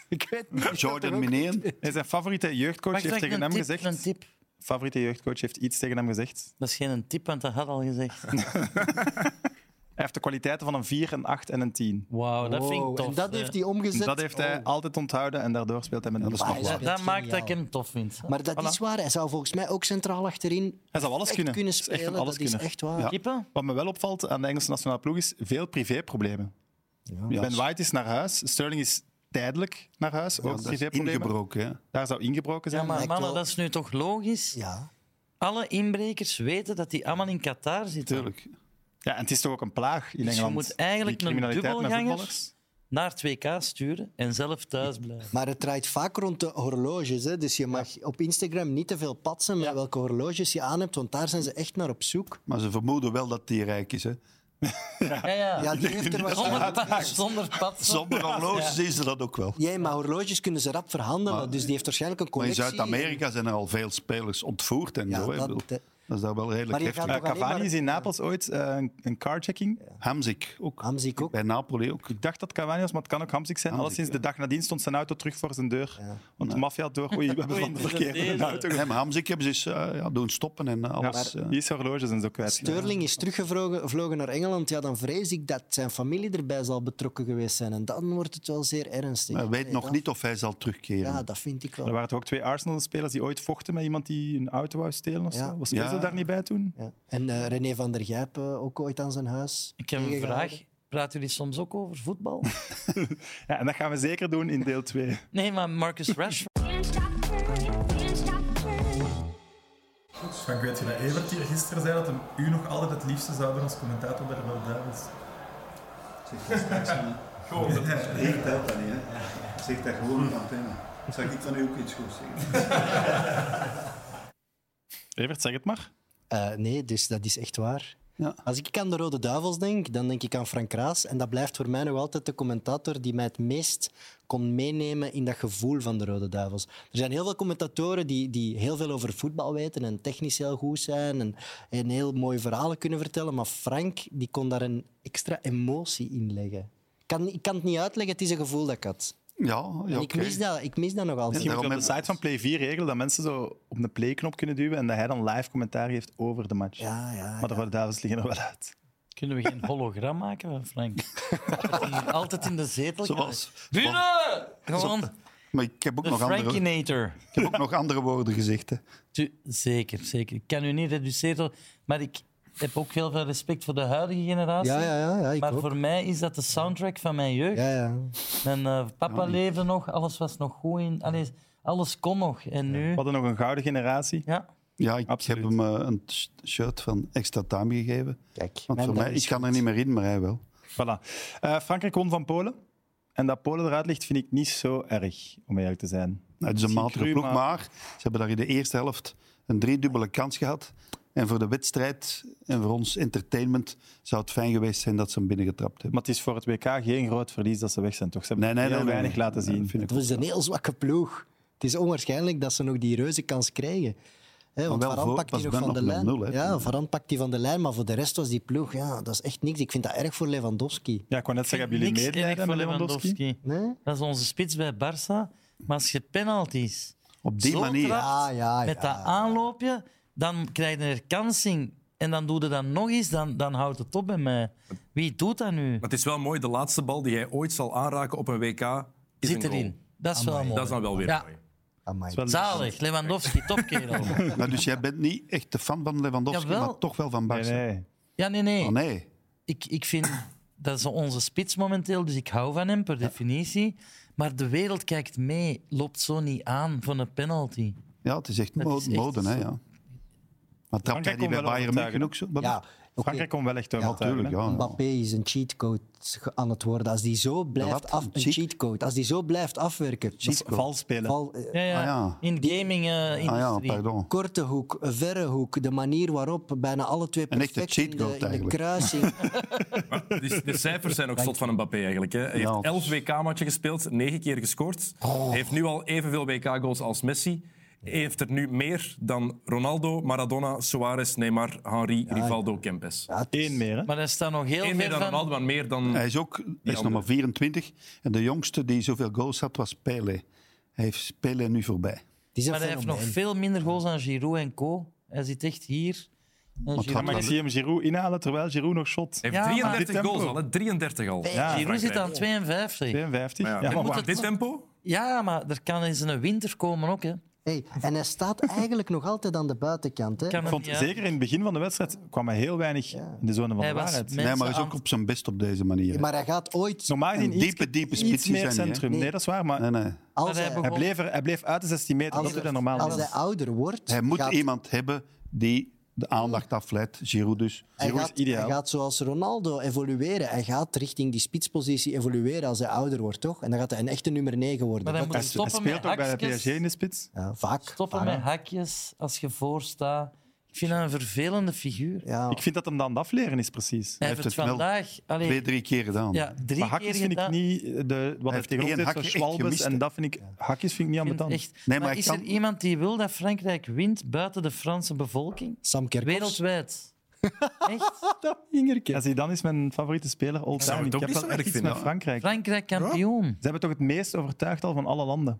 [SPEAKER 2] ik weet niet.
[SPEAKER 3] Jordan Mineen.
[SPEAKER 1] Nee, zijn favoriete jeugdcoach
[SPEAKER 4] Mag ik
[SPEAKER 1] heeft
[SPEAKER 4] zeggen
[SPEAKER 1] tegen
[SPEAKER 4] een
[SPEAKER 1] hem
[SPEAKER 4] tip,
[SPEAKER 1] gezegd...
[SPEAKER 4] Een tip.
[SPEAKER 1] Favoriete jeugdcoach heeft iets tegen hem gezegd.
[SPEAKER 4] Dat is geen een tip, want dat had al gezegd.
[SPEAKER 1] Hij heeft de kwaliteiten van een 4, een 8 en een 10.
[SPEAKER 4] Wauw, dat vind ik
[SPEAKER 2] Wow,
[SPEAKER 4] tof.
[SPEAKER 2] en dat
[SPEAKER 4] hè.
[SPEAKER 2] heeft hij omgezet.
[SPEAKER 1] Dat heeft hij altijd onthouden en daardoor speelt hij met
[SPEAKER 3] Ja,
[SPEAKER 1] een
[SPEAKER 3] dat is
[SPEAKER 2] Maar
[SPEAKER 3] nog
[SPEAKER 2] hij
[SPEAKER 3] waar.
[SPEAKER 4] oh. Dat,
[SPEAKER 2] speelt
[SPEAKER 4] dat
[SPEAKER 2] geniaal.
[SPEAKER 4] maakt dat ik hem tof vind.
[SPEAKER 2] Maar dat
[SPEAKER 1] Voilà.
[SPEAKER 2] is waar. Hij zou volgens mij ook centraal achterin
[SPEAKER 1] Hij zou alles
[SPEAKER 2] echt
[SPEAKER 1] kunnen.
[SPEAKER 2] kunnen
[SPEAKER 1] Het is echt een
[SPEAKER 2] spelen. Dat is
[SPEAKER 1] alleskunner.
[SPEAKER 2] echt waar.
[SPEAKER 3] Ja.
[SPEAKER 4] Kippen?
[SPEAKER 1] Wat me wel opvalt aan de Engelse nationale ploeg is veel privéproblemen.
[SPEAKER 3] Ja,
[SPEAKER 1] Ben White is naar huis, Sterling is tijdelijk naar huis,
[SPEAKER 3] ja,
[SPEAKER 1] ook
[SPEAKER 3] dat is
[SPEAKER 1] privéproblemen.
[SPEAKER 3] ingebroken, hè.
[SPEAKER 1] Daar zou ingebroken zijn.
[SPEAKER 4] Ja, maar
[SPEAKER 2] lijkt
[SPEAKER 4] mannen,
[SPEAKER 2] wel-
[SPEAKER 4] dat is nu toch logisch?
[SPEAKER 2] Ja.
[SPEAKER 4] Alle inbrekers weten dat die allemaal in Qatar zitten.
[SPEAKER 3] Tuurlijk.
[SPEAKER 1] Ja, en het is toch ook een plaag in
[SPEAKER 4] Dus je
[SPEAKER 1] Engeland.
[SPEAKER 4] moet eigenlijk
[SPEAKER 1] die
[SPEAKER 4] een
[SPEAKER 1] criminaliteit met
[SPEAKER 4] dubbelganger-
[SPEAKER 1] voetballers.
[SPEAKER 4] Naar het WK sturen en zelf thuis blijven.
[SPEAKER 2] Maar het draait vaak rond de horloges. Hè? Dus je mag op Instagram niet te veel patsen met welke horloges je aan hebt, want daar zijn ze echt naar op zoek.
[SPEAKER 3] Maar ze vermoeden wel dat die rijk is, hè.
[SPEAKER 4] Ja, ja.
[SPEAKER 2] Ja, die heeft er
[SPEAKER 4] Zonder
[SPEAKER 2] waarschijnlijk...
[SPEAKER 4] pad, zonder pad.
[SPEAKER 3] Zonder horloge zien ze dat ook wel.
[SPEAKER 2] Ja, maar horloges kunnen ze rap verhandelen. dus die heeft waarschijnlijk een
[SPEAKER 3] Maar in
[SPEAKER 2] collectie.
[SPEAKER 3] Zuid-Amerika zijn er al veel spelers ontvoerd en
[SPEAKER 2] Ja,
[SPEAKER 3] zo. hè.
[SPEAKER 2] dat-
[SPEAKER 3] Ik
[SPEAKER 2] eh,
[SPEAKER 3] bedoel, Dat, is daar wel redelijk
[SPEAKER 2] Maar je
[SPEAKER 3] heftig.
[SPEAKER 2] gaat
[SPEAKER 1] Eh,
[SPEAKER 2] toch alleen
[SPEAKER 1] Cavani
[SPEAKER 2] maar-
[SPEAKER 1] is in Napels ooit eh, een, een carjacking.
[SPEAKER 3] Hamzik ook.
[SPEAKER 2] Hamzik ook.
[SPEAKER 3] Bij Napoli ook.
[SPEAKER 1] Ik dacht dat Cavani was, maar het kan ook Hamsik zijn.
[SPEAKER 3] Hamsik,
[SPEAKER 1] Alleszins de dag nadien stond zijn auto terug voor zijn deur. Want de
[SPEAKER 3] Ja.
[SPEAKER 1] maffia had door. Oei, we hebben
[SPEAKER 4] Oei,
[SPEAKER 1] van de
[SPEAKER 4] het is
[SPEAKER 1] verkeerde
[SPEAKER 4] een
[SPEAKER 1] een auto.
[SPEAKER 3] Ja, maar Hamzik hebben ze eens, eh, ja, doen stoppen en eh,
[SPEAKER 1] Ja,
[SPEAKER 3] alles. eh.
[SPEAKER 1] die is horloges en zo kwijt.
[SPEAKER 2] Sterling is teruggevlogen vlogen naar Engeland. Ja, dan vrees ik dat zijn familie erbij zal betrokken geweest zijn. En dan wordt het wel zeer ernstig.
[SPEAKER 3] maar hij weet
[SPEAKER 2] Nee,
[SPEAKER 3] nog
[SPEAKER 2] dat-
[SPEAKER 3] niet of hij zal terugkeren.
[SPEAKER 2] Ja, dat vind ik
[SPEAKER 1] Er
[SPEAKER 2] wel.
[SPEAKER 1] waren toch ook twee Arsenal-spelers die ooit vochten met iemand die een auto wou stelen of
[SPEAKER 2] Ja.
[SPEAKER 1] zo. Was
[SPEAKER 3] Ja.
[SPEAKER 1] Ozil daar niet bij toen?
[SPEAKER 2] Ja. En eh, René van der Gijp eh, ook ooit aan zijn huis.
[SPEAKER 4] Ik heb een
[SPEAKER 2] tegengehouden.
[SPEAKER 4] vraag. Praten jullie soms ook over voetbal?
[SPEAKER 1] Ja, en dat gaan we zeker doen in deel 2.
[SPEAKER 4] Nee, maar Marcus Rashford.
[SPEAKER 5] Can't stop, can't
[SPEAKER 8] Van, ik weet je dat Evert hier gisteren zei dat hem u nog altijd het liefste zou doen als commentator bij de Wel Duivels?
[SPEAKER 7] Goh, dat is echt dat dan niet, hè. Zeg dat gewoon op antenne. Zou ik van u ook iets goeds zeggen?
[SPEAKER 1] Evert, zeg het maar.
[SPEAKER 2] Eh, nee, dus dat is echt waar.
[SPEAKER 3] Ja.
[SPEAKER 2] Als ik aan de Rode Duivels denk, dan denk ik aan Frank Raas. En dat blijft voor mij nog altijd de commentator die mij het meest kon meenemen in dat gevoel van de Rode Duivels. Er zijn heel veel commentatoren die, die heel veel over voetbal weten en technisch heel goed zijn en, en heel mooie verhalen kunnen vertellen. Maar Frank die kon daar een extra emotie in leggen. Ik kan, ik kan het niet uitleggen, het is een gevoel dat ik had.
[SPEAKER 3] Ja, ja
[SPEAKER 2] En
[SPEAKER 3] oké.
[SPEAKER 2] ik, mis dat, ik mis dat nog altijd.
[SPEAKER 1] Misschien moet je op
[SPEAKER 3] daarom
[SPEAKER 1] de
[SPEAKER 3] heb-
[SPEAKER 1] site van Play 4 regelen dat mensen zo op de play-knop kunnen duwen en dat hij dan live commentaar geeft over de match.
[SPEAKER 2] Ja, ja.
[SPEAKER 1] Maar de Rode Duivels liggen er wel uit.
[SPEAKER 4] Kunnen we geen hologram maken van Frank? Dat hij hier altijd in de zetel
[SPEAKER 3] Zoals-
[SPEAKER 4] krijgt. Binnen! Gewoon
[SPEAKER 3] Maar ik heb ook,
[SPEAKER 4] de
[SPEAKER 3] nog andere,
[SPEAKER 4] Frankinator.
[SPEAKER 3] ik heb ook nog andere woorden gezegd. Hè.
[SPEAKER 4] Tu- Zeker, zeker. Ik kan u niet reduceren, maar ik heb ook heel veel respect voor de huidige generatie.
[SPEAKER 2] Ja, ja, ja, ja, ik
[SPEAKER 4] maar
[SPEAKER 2] ook.
[SPEAKER 4] voor mij is dat de soundtrack van mijn jeugd.
[SPEAKER 2] Ja, ja.
[SPEAKER 4] Mijn eh, papa leefde nog, alles was nog goed. In, allee, alles kon nog. En nu...
[SPEAKER 1] We hadden nog een gouden generatie.
[SPEAKER 4] Ja,
[SPEAKER 3] Ja, ik
[SPEAKER 1] Absoluut.
[SPEAKER 3] heb hem eh, een sh- shirt van Extra Time gegeven.
[SPEAKER 2] Kijk,
[SPEAKER 3] Want
[SPEAKER 2] mijn
[SPEAKER 3] voor
[SPEAKER 2] dag
[SPEAKER 3] mij,
[SPEAKER 2] is
[SPEAKER 3] ik kan
[SPEAKER 2] goed.
[SPEAKER 3] er niet meer in, maar hij wel.
[SPEAKER 1] Voilà. Eh, Frankrijk won van Polen. En dat Polen eruit ligt, vind ik niet zo erg, om eerlijk te zijn.
[SPEAKER 3] Nou, het is een
[SPEAKER 1] Misschien
[SPEAKER 3] matige
[SPEAKER 1] cru,
[SPEAKER 3] ploeg,
[SPEAKER 1] maar-
[SPEAKER 3] maar ze hebben daar in de eerste helft een driedubbele kans gehad. En voor de wedstrijd en voor ons entertainment zou het fijn geweest zijn dat ze hem binnengetrapt hebben.
[SPEAKER 1] Maar het is voor het WK geen groot verlies dat ze weg zijn, toch? Ze hebben heel weinig
[SPEAKER 3] nee.
[SPEAKER 1] laten
[SPEAKER 3] Nee,
[SPEAKER 1] zien.
[SPEAKER 3] dat vind ik
[SPEAKER 2] Het was een heel zwakke ploeg. Het is onwaarschijnlijk dat ze nog die reuze kans krijgen. Hè, want
[SPEAKER 3] wel
[SPEAKER 2] Varane
[SPEAKER 3] voor-
[SPEAKER 2] pakt die
[SPEAKER 3] was
[SPEAKER 2] nog
[SPEAKER 3] dan
[SPEAKER 2] van de
[SPEAKER 3] nog met
[SPEAKER 2] lijn.
[SPEAKER 3] nul, hè,
[SPEAKER 2] ja,
[SPEAKER 3] toen.
[SPEAKER 2] Varane pakt die van de lijn, maar voor de rest was die ploeg, ja, dat is echt niks. Ik vind dat erg voor Lewandowski.
[SPEAKER 1] Ja, ik wou net zeggen, hebben jullie
[SPEAKER 4] niks erg
[SPEAKER 1] medelijden
[SPEAKER 4] voor
[SPEAKER 1] met Lewandowski?
[SPEAKER 4] Lewandowski.
[SPEAKER 2] Nee?
[SPEAKER 4] Dat is onze spits bij Barça. Maar als je penalties
[SPEAKER 3] Op die
[SPEAKER 4] zo
[SPEAKER 3] manier.
[SPEAKER 4] trapt,
[SPEAKER 2] Ah, Ja, ja,
[SPEAKER 4] met dat
[SPEAKER 2] ja.
[SPEAKER 4] aanloopje, dan krijg je een herkansing. En dan doe je dat nog eens, dan, dan houdt het op bij mij. Wie doet dat nu?
[SPEAKER 6] Maar het is wel mooi, de laatste bal die jij ooit zal aanraken op een WK is
[SPEAKER 4] Zit
[SPEAKER 6] een goal.
[SPEAKER 4] erin. Dat is wel mooi.
[SPEAKER 6] Dat is dan wel weer
[SPEAKER 4] Ja.
[SPEAKER 6] mooi.
[SPEAKER 2] Amai.
[SPEAKER 1] wel-
[SPEAKER 4] Zalig, Lewandowski, topkerel.
[SPEAKER 3] Maar dus jij bent niet echt de fan van Lewandowski,
[SPEAKER 4] Jawel.
[SPEAKER 3] maar toch wel van Barca.
[SPEAKER 1] Nee, nee.
[SPEAKER 4] Ja, nee, nee.
[SPEAKER 3] Oh, nee.
[SPEAKER 4] Ik, ik vind, dat is onze spits momenteel, dus ik hou van hem per definitie. Maar de wereld kijkt mee, loopt zo niet aan van een penalty.
[SPEAKER 3] Ja, het is echt
[SPEAKER 4] Dat
[SPEAKER 3] mo-
[SPEAKER 4] is echt
[SPEAKER 3] mode, hè, ja. Maar trapt hij
[SPEAKER 1] Frankrijk
[SPEAKER 3] die bij
[SPEAKER 1] kon wel
[SPEAKER 3] Bayern
[SPEAKER 1] overtuigen.
[SPEAKER 3] München ook zo? Wat-
[SPEAKER 2] Ja, oké.
[SPEAKER 1] Frankrijk kon wel echt wel
[SPEAKER 3] Tuurlijk, ja.
[SPEAKER 2] Mbappé is een cheatcode ge- aan het worden. Als die zo blijft
[SPEAKER 3] wat?
[SPEAKER 2] af,
[SPEAKER 3] Een
[SPEAKER 2] een
[SPEAKER 3] cheat-
[SPEAKER 2] cheatcode. Als die zo blijft afwerken.
[SPEAKER 1] Vals spelen.
[SPEAKER 2] Val- eh,
[SPEAKER 4] Ja, ja.
[SPEAKER 3] Ah, ja.
[SPEAKER 4] In gaming eh
[SPEAKER 3] Ah ja,
[SPEAKER 4] industrie.
[SPEAKER 3] pardon.
[SPEAKER 2] korte hoek, een verre hoek, de manier waarop bijna alle twee
[SPEAKER 3] Een echte
[SPEAKER 2] perfect in de,
[SPEAKER 3] cheatcode
[SPEAKER 2] in de
[SPEAKER 3] eigenlijk.
[SPEAKER 2] kruising.
[SPEAKER 6] Dus De, de cijfers zijn ook slot van Mbappé eigenlijk. Hè. Hij heeft
[SPEAKER 3] Ja.
[SPEAKER 6] 11 WK-matchen gespeeld, 9 keer gescoord. Hij heeft nu al evenveel WK-goals als Messi. Hij heeft er nu meer dan Ronaldo, Maradona, Suarez, Neymar, Henry, Rivaldo, Kempes.
[SPEAKER 2] Ja, het is-
[SPEAKER 1] Eén meer, hè?
[SPEAKER 4] Maar daar staat nog heel
[SPEAKER 6] Eén meer
[SPEAKER 4] veel
[SPEAKER 6] dan
[SPEAKER 4] van.
[SPEAKER 6] Ronaldo, maar meer dan...
[SPEAKER 3] Hij is ook hij is nog maar 24. En de jongste die zoveel goals had, was Pele. Hij heeft Pele nu voorbij.
[SPEAKER 2] het is een
[SPEAKER 4] Maar hij heeft nog
[SPEAKER 2] fenomeen.
[SPEAKER 4] veel minder goals dan Giroud en co. Hij zit echt hier. En
[SPEAKER 1] Maar
[SPEAKER 3] gaat
[SPEAKER 1] ik
[SPEAKER 4] Giroud,
[SPEAKER 1] zie hem Giroud inhalen, terwijl Giroud nog shot.
[SPEAKER 6] Hij
[SPEAKER 4] Ja,
[SPEAKER 6] heeft
[SPEAKER 4] maar-
[SPEAKER 6] 33
[SPEAKER 1] Dit
[SPEAKER 6] goals
[SPEAKER 1] tempo.
[SPEAKER 6] al, hè. 33 al.
[SPEAKER 1] Ja,
[SPEAKER 4] Giroud zit aan 52.
[SPEAKER 1] 52.
[SPEAKER 6] Maar
[SPEAKER 1] Ja,
[SPEAKER 6] ja,
[SPEAKER 1] maar
[SPEAKER 6] dit-
[SPEAKER 4] moet
[SPEAKER 1] wacht.
[SPEAKER 4] het-
[SPEAKER 6] dit tempo?
[SPEAKER 4] Ja, maar er kan eens een winter komen ook. Hè.
[SPEAKER 2] Hey, en hij staat eigenlijk nog altijd aan de buitenkant. Hè?
[SPEAKER 4] Kan
[SPEAKER 1] Ik
[SPEAKER 4] hem
[SPEAKER 1] vond,
[SPEAKER 4] niet uit.
[SPEAKER 1] zeker in het begin van de wedstrijd kwam hij heel weinig in de zone van
[SPEAKER 4] Hij
[SPEAKER 1] de
[SPEAKER 4] was
[SPEAKER 1] waarheid.
[SPEAKER 4] mensen
[SPEAKER 3] nee, maar hij is ook
[SPEAKER 4] aan-
[SPEAKER 3] op zijn best op deze manier. hè.
[SPEAKER 2] Maar hij gaat ooit,
[SPEAKER 1] Normaal gezien
[SPEAKER 3] Een
[SPEAKER 1] iets-
[SPEAKER 3] diepe, diepe
[SPEAKER 1] iets
[SPEAKER 3] spits is
[SPEAKER 1] meer
[SPEAKER 3] hij niet, hè?
[SPEAKER 1] centrum. Nee, dat is waar, maar
[SPEAKER 3] Nee, nee.
[SPEAKER 2] als
[SPEAKER 4] hij
[SPEAKER 2] hij,
[SPEAKER 4] begon-
[SPEAKER 1] hij bleef, er, hij bleef uit de 16 meter.
[SPEAKER 2] als,
[SPEAKER 1] dat doet hij normaal
[SPEAKER 2] als
[SPEAKER 1] niet.
[SPEAKER 2] hij ouder wordt...
[SPEAKER 3] Hij moet
[SPEAKER 2] gaat-
[SPEAKER 3] iemand hebben die de aandacht afleidt. Giroud dus.
[SPEAKER 2] hij
[SPEAKER 1] Giroud is
[SPEAKER 2] gaat,
[SPEAKER 1] ideaal.
[SPEAKER 2] hij gaat zoals Ronaldo evolueren. Hij gaat richting die spitspositie evolueren als hij ouder wordt, toch? En dan gaat hij een echte nummer 9 worden.
[SPEAKER 4] Maar hij
[SPEAKER 2] Dat
[SPEAKER 4] moet
[SPEAKER 1] Hij
[SPEAKER 2] is-
[SPEAKER 4] stoppen met
[SPEAKER 1] speelt ook bij de
[SPEAKER 4] hakjes.
[SPEAKER 1] PSG in de spits.
[SPEAKER 2] ja, vaak.
[SPEAKER 4] Stoppen
[SPEAKER 1] Ah,
[SPEAKER 2] vaak.
[SPEAKER 4] met hakjes als je voorstaat. Ik vind dat een vervelende figuur.
[SPEAKER 2] Ja.
[SPEAKER 1] Ik vind dat hem dan het afleren is, precies.
[SPEAKER 4] Hij
[SPEAKER 1] Maar
[SPEAKER 4] heeft
[SPEAKER 3] heeft
[SPEAKER 4] het
[SPEAKER 3] het wel
[SPEAKER 4] vandaag... Allee,
[SPEAKER 3] Twee, drie keer gedaan.
[SPEAKER 4] ja, drie keer
[SPEAKER 1] hakjes vind ik
[SPEAKER 4] gedaan.
[SPEAKER 1] niet... eh, De, wat hij
[SPEAKER 3] heeft
[SPEAKER 1] tegen ons
[SPEAKER 3] één
[SPEAKER 1] deed, zo
[SPEAKER 3] hakje echt
[SPEAKER 1] Schwalbes
[SPEAKER 3] gemist,
[SPEAKER 1] en
[SPEAKER 3] hè.
[SPEAKER 1] dat vind ik... Hakjes vind ik niet aan
[SPEAKER 4] Ik vind
[SPEAKER 1] de
[SPEAKER 4] het
[SPEAKER 1] tand.
[SPEAKER 4] Echt.
[SPEAKER 3] Nee,
[SPEAKER 4] maar
[SPEAKER 3] maar
[SPEAKER 4] is
[SPEAKER 3] ik
[SPEAKER 4] er
[SPEAKER 3] kan-
[SPEAKER 4] iemand die wil dat Frankrijk wint buiten de Franse bevolking?
[SPEAKER 2] Sam Kerkhoffs.
[SPEAKER 4] Wereldwijd. Echt?
[SPEAKER 1] Ja, Zidane is mijn favoriete speler all
[SPEAKER 6] zou
[SPEAKER 1] time.
[SPEAKER 6] het
[SPEAKER 1] Ik
[SPEAKER 6] ook
[SPEAKER 1] heb
[SPEAKER 6] niet
[SPEAKER 1] dat
[SPEAKER 6] zo
[SPEAKER 1] echt
[SPEAKER 6] erg
[SPEAKER 1] iets
[SPEAKER 6] vinden,
[SPEAKER 1] met
[SPEAKER 6] hoor.
[SPEAKER 1] Frankrijk. Ze
[SPEAKER 4] Frankrijk kampioen.
[SPEAKER 1] hebben toch het meest overtuigd al van alle landen.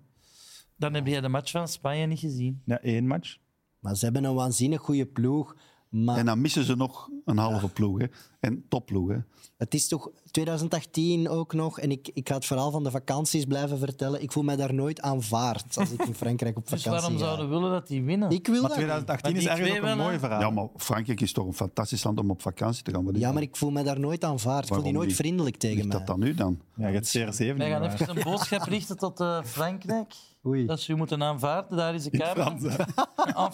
[SPEAKER 4] Dan heb jij de match van Spanje niet gezien.
[SPEAKER 1] Ja, één match.
[SPEAKER 2] Maar ze hebben een waanzinnig goede ploeg. Maar
[SPEAKER 3] En dan missen ze nog een halve ploeg. Hè. En topploeg. Hè.
[SPEAKER 2] het is toch 2018 ook nog. En ik, ik ga het verhaal van de vakanties blijven vertellen. Ik voel mij daar nooit aanvaard als ik in Frankrijk op
[SPEAKER 4] Dus
[SPEAKER 2] vakantie
[SPEAKER 4] waarom
[SPEAKER 2] ga.
[SPEAKER 4] zouden we willen dat die winnen?
[SPEAKER 2] Ik
[SPEAKER 1] Maar
[SPEAKER 2] wil dat niet.
[SPEAKER 1] 2018
[SPEAKER 4] Maar
[SPEAKER 1] is
[SPEAKER 4] die
[SPEAKER 1] ergens
[SPEAKER 4] twee
[SPEAKER 1] ook een
[SPEAKER 4] wel,
[SPEAKER 1] mooi
[SPEAKER 4] hè?
[SPEAKER 1] verhaal.
[SPEAKER 3] Ja, maar Frankrijk is toch een fantastisch land om op vakantie te gaan. Wat is-
[SPEAKER 2] Ja, maar ik voel mij daar nooit aanvaard. Ik voel die
[SPEAKER 3] Waarom
[SPEAKER 2] nooit
[SPEAKER 3] niet?
[SPEAKER 2] vriendelijk tegen
[SPEAKER 3] ligt
[SPEAKER 2] mij.
[SPEAKER 3] dat dan nu dan?
[SPEAKER 1] Ja, je hebt CR7
[SPEAKER 4] Wij gaan
[SPEAKER 1] niet
[SPEAKER 4] even een boodschap richten tot eh, Frankrijk.
[SPEAKER 2] Oei.
[SPEAKER 4] Dat ze u moeten aanvaarden. Daar is de camera.
[SPEAKER 1] Frans, hè.
[SPEAKER 4] En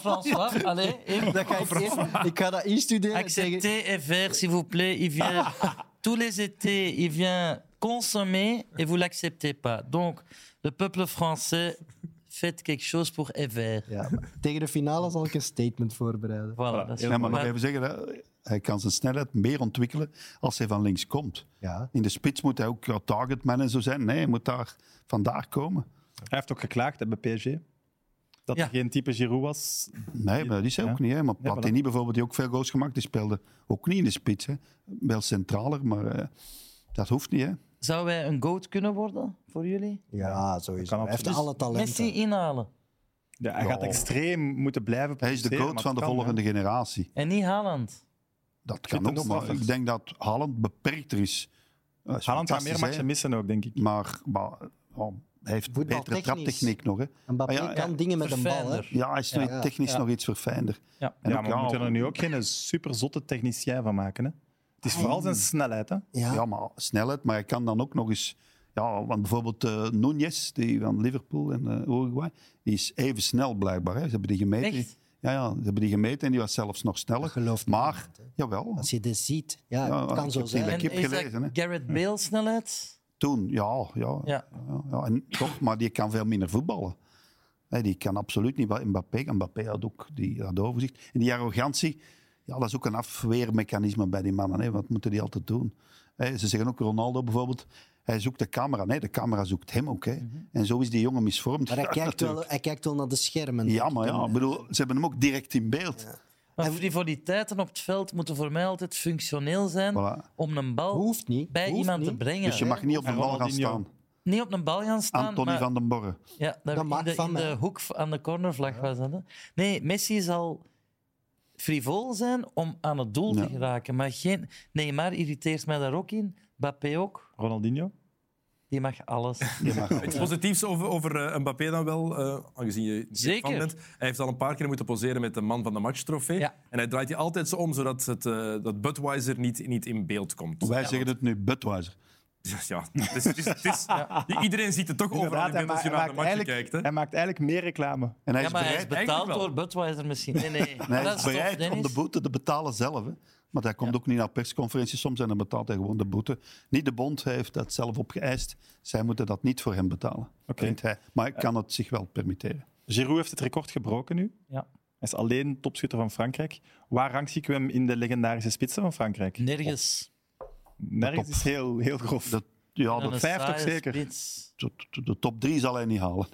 [SPEAKER 4] François, allez. even.
[SPEAKER 2] Dat ga ik, eerst- ik ga dat instuderen. Tegen...
[SPEAKER 4] Acceptez et faire, s'il vous plaît. Il vient tous les étés, il vient consommer et vous l'acceptez pas. Donc, le peuple français, faites quelque chose pour et faire.
[SPEAKER 2] Ja, maar tegen de finale zal ik een statement voorbereiden.
[SPEAKER 4] Voilà, dat is
[SPEAKER 3] Ja, maar nog
[SPEAKER 4] Maar
[SPEAKER 3] even zeggen, hè, hij kan zijn snelheid meer ontwikkelen als hij van links komt.
[SPEAKER 2] Ja.
[SPEAKER 3] In de spits moet hij ook ja, targetman en zo zijn. Nee, hij moet daar vandaag komen.
[SPEAKER 1] Hij heeft ook geklaagd hè, bij PSG. Dat
[SPEAKER 4] Ja.
[SPEAKER 1] er geen type Giroud was.
[SPEAKER 3] Nee, maar dat is hij ook niet. Hè. Maar
[SPEAKER 1] Ja,
[SPEAKER 3] Platini bijvoorbeeld, die ook veel goals gemaakt, die speelde ook niet in de spits. Hè. Wel centraler, maar eh, dat hoeft niet. Hè.
[SPEAKER 4] Zou wij een goat kunnen worden voor jullie?
[SPEAKER 2] Ja, sowieso.
[SPEAKER 1] kan
[SPEAKER 2] Hij heeft
[SPEAKER 1] absoluut.
[SPEAKER 2] alle talenten.
[SPEAKER 4] Messi inhalen
[SPEAKER 1] Ja, hij
[SPEAKER 3] Ja.
[SPEAKER 1] gaat extreem moeten blijven
[SPEAKER 3] Hij is de
[SPEAKER 1] presteren,
[SPEAKER 3] coach
[SPEAKER 1] maar
[SPEAKER 3] van de
[SPEAKER 1] het kan,
[SPEAKER 3] volgende generatie.
[SPEAKER 4] en niet Haaland.
[SPEAKER 3] Dat kan
[SPEAKER 1] Zit er
[SPEAKER 3] ook,
[SPEAKER 1] nog
[SPEAKER 3] maar
[SPEAKER 1] achter?
[SPEAKER 3] ik denk dat Haaland beperkter is. Dat
[SPEAKER 1] hè.
[SPEAKER 3] is
[SPEAKER 1] Haaland gaat meer
[SPEAKER 3] fantastisch,
[SPEAKER 1] matchen
[SPEAKER 3] hè.
[SPEAKER 1] missen ook, denk ik.
[SPEAKER 3] Maar, maar, oh, hij heeft betere
[SPEAKER 2] Voetbaltechnisch.
[SPEAKER 3] traptechniek nog. Hè.
[SPEAKER 2] Mbappé
[SPEAKER 3] Ah, ja, ja.
[SPEAKER 2] kan dingen met een bal. Hè.
[SPEAKER 4] Verfijnder.
[SPEAKER 3] Ja, hij is nog
[SPEAKER 2] Ja.
[SPEAKER 3] technisch nog iets verfijnder.
[SPEAKER 4] Ja.
[SPEAKER 3] En
[SPEAKER 1] ja,
[SPEAKER 3] ook,
[SPEAKER 1] maar we moeten er nu ook geen superzotte technicien van maken. Hè. Het is vooral zijn snelheid. Hè.
[SPEAKER 2] Ja.
[SPEAKER 3] Ja, maar snelheid. Maar hij kan dan ook nog eens... Ja, want bijvoorbeeld eh Nunez, die van Liverpool en eh, Uruguay, die is even snel blijkbaar. Hè. Ze hebben die gemeten.
[SPEAKER 4] Echt?
[SPEAKER 3] Ja, ja, ze hebben die gemeten en die was zelfs nog sneller.
[SPEAKER 2] Dat gelooft
[SPEAKER 3] maar, jawel,
[SPEAKER 2] Als je dit ziet. Ja,
[SPEAKER 3] Ja,
[SPEAKER 2] het kan
[SPEAKER 3] ik
[SPEAKER 2] zo
[SPEAKER 3] heb die
[SPEAKER 2] zijn.
[SPEAKER 3] lekker-
[SPEAKER 4] En
[SPEAKER 3] heb
[SPEAKER 4] is dat
[SPEAKER 3] gelezen, hè.
[SPEAKER 4] Gareth Bale snelheid?
[SPEAKER 3] toen, ja, ja, ja.
[SPEAKER 4] Ja.
[SPEAKER 3] ja, En toch, maar die kan veel minder voetballen. Hè, die kan absoluut niet. wat Mbappé, Mbappé had ook die, dat overzicht. En die arrogantie, ja, dat is ook een afweermechanisme bij die mannen. Hè. Wat moeten die altijd doen? Hè, ze zeggen ook Ronaldo bijvoorbeeld, hij zoekt de camera. Nee, de camera zoekt hem ook. Hè.
[SPEAKER 4] Mhm.
[SPEAKER 3] En zo is die jongen misvormd.
[SPEAKER 2] Maar hij kijkt, wel, hij kijkt wel naar de schermen.
[SPEAKER 3] Ja, maar ja, ik bedoel, ze hebben hem ook direct in beeld.
[SPEAKER 4] Maar frivoliteiten op het veld moeten voor mij altijd functioneel zijn
[SPEAKER 3] Voilà.
[SPEAKER 4] om een bal
[SPEAKER 2] Hoeft niet.
[SPEAKER 4] bij
[SPEAKER 2] Hoeft
[SPEAKER 4] iemand
[SPEAKER 2] niet.
[SPEAKER 4] te brengen.
[SPEAKER 3] Dus je mag niet op de
[SPEAKER 1] En
[SPEAKER 3] bal gaan
[SPEAKER 1] Ronaldinho.
[SPEAKER 3] staan.
[SPEAKER 4] Niet op een bal gaan staan.
[SPEAKER 3] Anthony
[SPEAKER 4] maar-
[SPEAKER 3] van den Borre.
[SPEAKER 4] Ja, daar
[SPEAKER 2] Dat
[SPEAKER 4] in
[SPEAKER 2] mag
[SPEAKER 4] de,
[SPEAKER 2] van
[SPEAKER 4] in
[SPEAKER 2] mij.
[SPEAKER 4] de hoek v- aan de cornervlag was dat. hè. Nee, Messi zal frivol zijn om aan het doel
[SPEAKER 3] Ja.
[SPEAKER 4] te geraken. Maar geen, Neymar irriteert mij daar ook in. Mbappé ook.
[SPEAKER 1] Ronaldinho.
[SPEAKER 4] Die mag alles.
[SPEAKER 3] Je mag
[SPEAKER 6] Iets positiefs over, over eh, Mbappé dan wel, eh, aangezien je
[SPEAKER 4] Zeker.
[SPEAKER 6] fan bent. Hij heeft al een paar keer moeten poseren met de man van de matchtrofee.
[SPEAKER 4] Ja.
[SPEAKER 6] En hij draait die altijd zo om, zodat het, eh, dat Budweiser niet, niet in beeld komt. Dus
[SPEAKER 3] Wij zeggen het nu, Budweiser.
[SPEAKER 6] Ja, het is, het is, het is- Iedereen ziet het toch overal in
[SPEAKER 1] Inderdaad, hij,
[SPEAKER 6] beeld
[SPEAKER 1] ma-
[SPEAKER 6] als je
[SPEAKER 1] hij
[SPEAKER 6] naar de
[SPEAKER 1] maakt
[SPEAKER 6] match
[SPEAKER 1] eigenlijk,
[SPEAKER 6] kijkt. Hè?
[SPEAKER 1] hij maakt eigenlijk meer reclame.
[SPEAKER 3] En hij
[SPEAKER 4] Ja,
[SPEAKER 3] is
[SPEAKER 4] maar hij
[SPEAKER 3] bereid
[SPEAKER 4] is betaald
[SPEAKER 6] eigenlijk wel.
[SPEAKER 4] door Budweiser misschien. Nee, nee.
[SPEAKER 3] Nee, hij
[SPEAKER 4] Dat
[SPEAKER 3] is
[SPEAKER 4] tof,
[SPEAKER 3] bereid om de
[SPEAKER 4] Dennis.
[SPEAKER 3] boete te betalen zelf. Hè. Maar hij komt ook niet naar persconferenties soms en dan betaalt hij gewoon de boete. Niet de bond, hij heeft dat zelf opgeëist. Zij moeten dat niet voor hem betalen, vindt hij. Maar hij kan het zich wel permitteren.
[SPEAKER 1] Giroud heeft het record gebroken nu.
[SPEAKER 4] Ja.
[SPEAKER 1] Hij is alleen topschutter van Frankrijk. Waar rankt hem in de legendarische spitsen van Frankrijk?
[SPEAKER 4] Nergens.
[SPEAKER 1] Nergens is heel, heel grof.
[SPEAKER 3] Dat, ja,
[SPEAKER 4] Dan
[SPEAKER 3] dat,
[SPEAKER 4] een
[SPEAKER 1] vijf toch
[SPEAKER 4] saaie
[SPEAKER 1] zeker?
[SPEAKER 4] spits.
[SPEAKER 3] de, de top drie zal hij niet halen.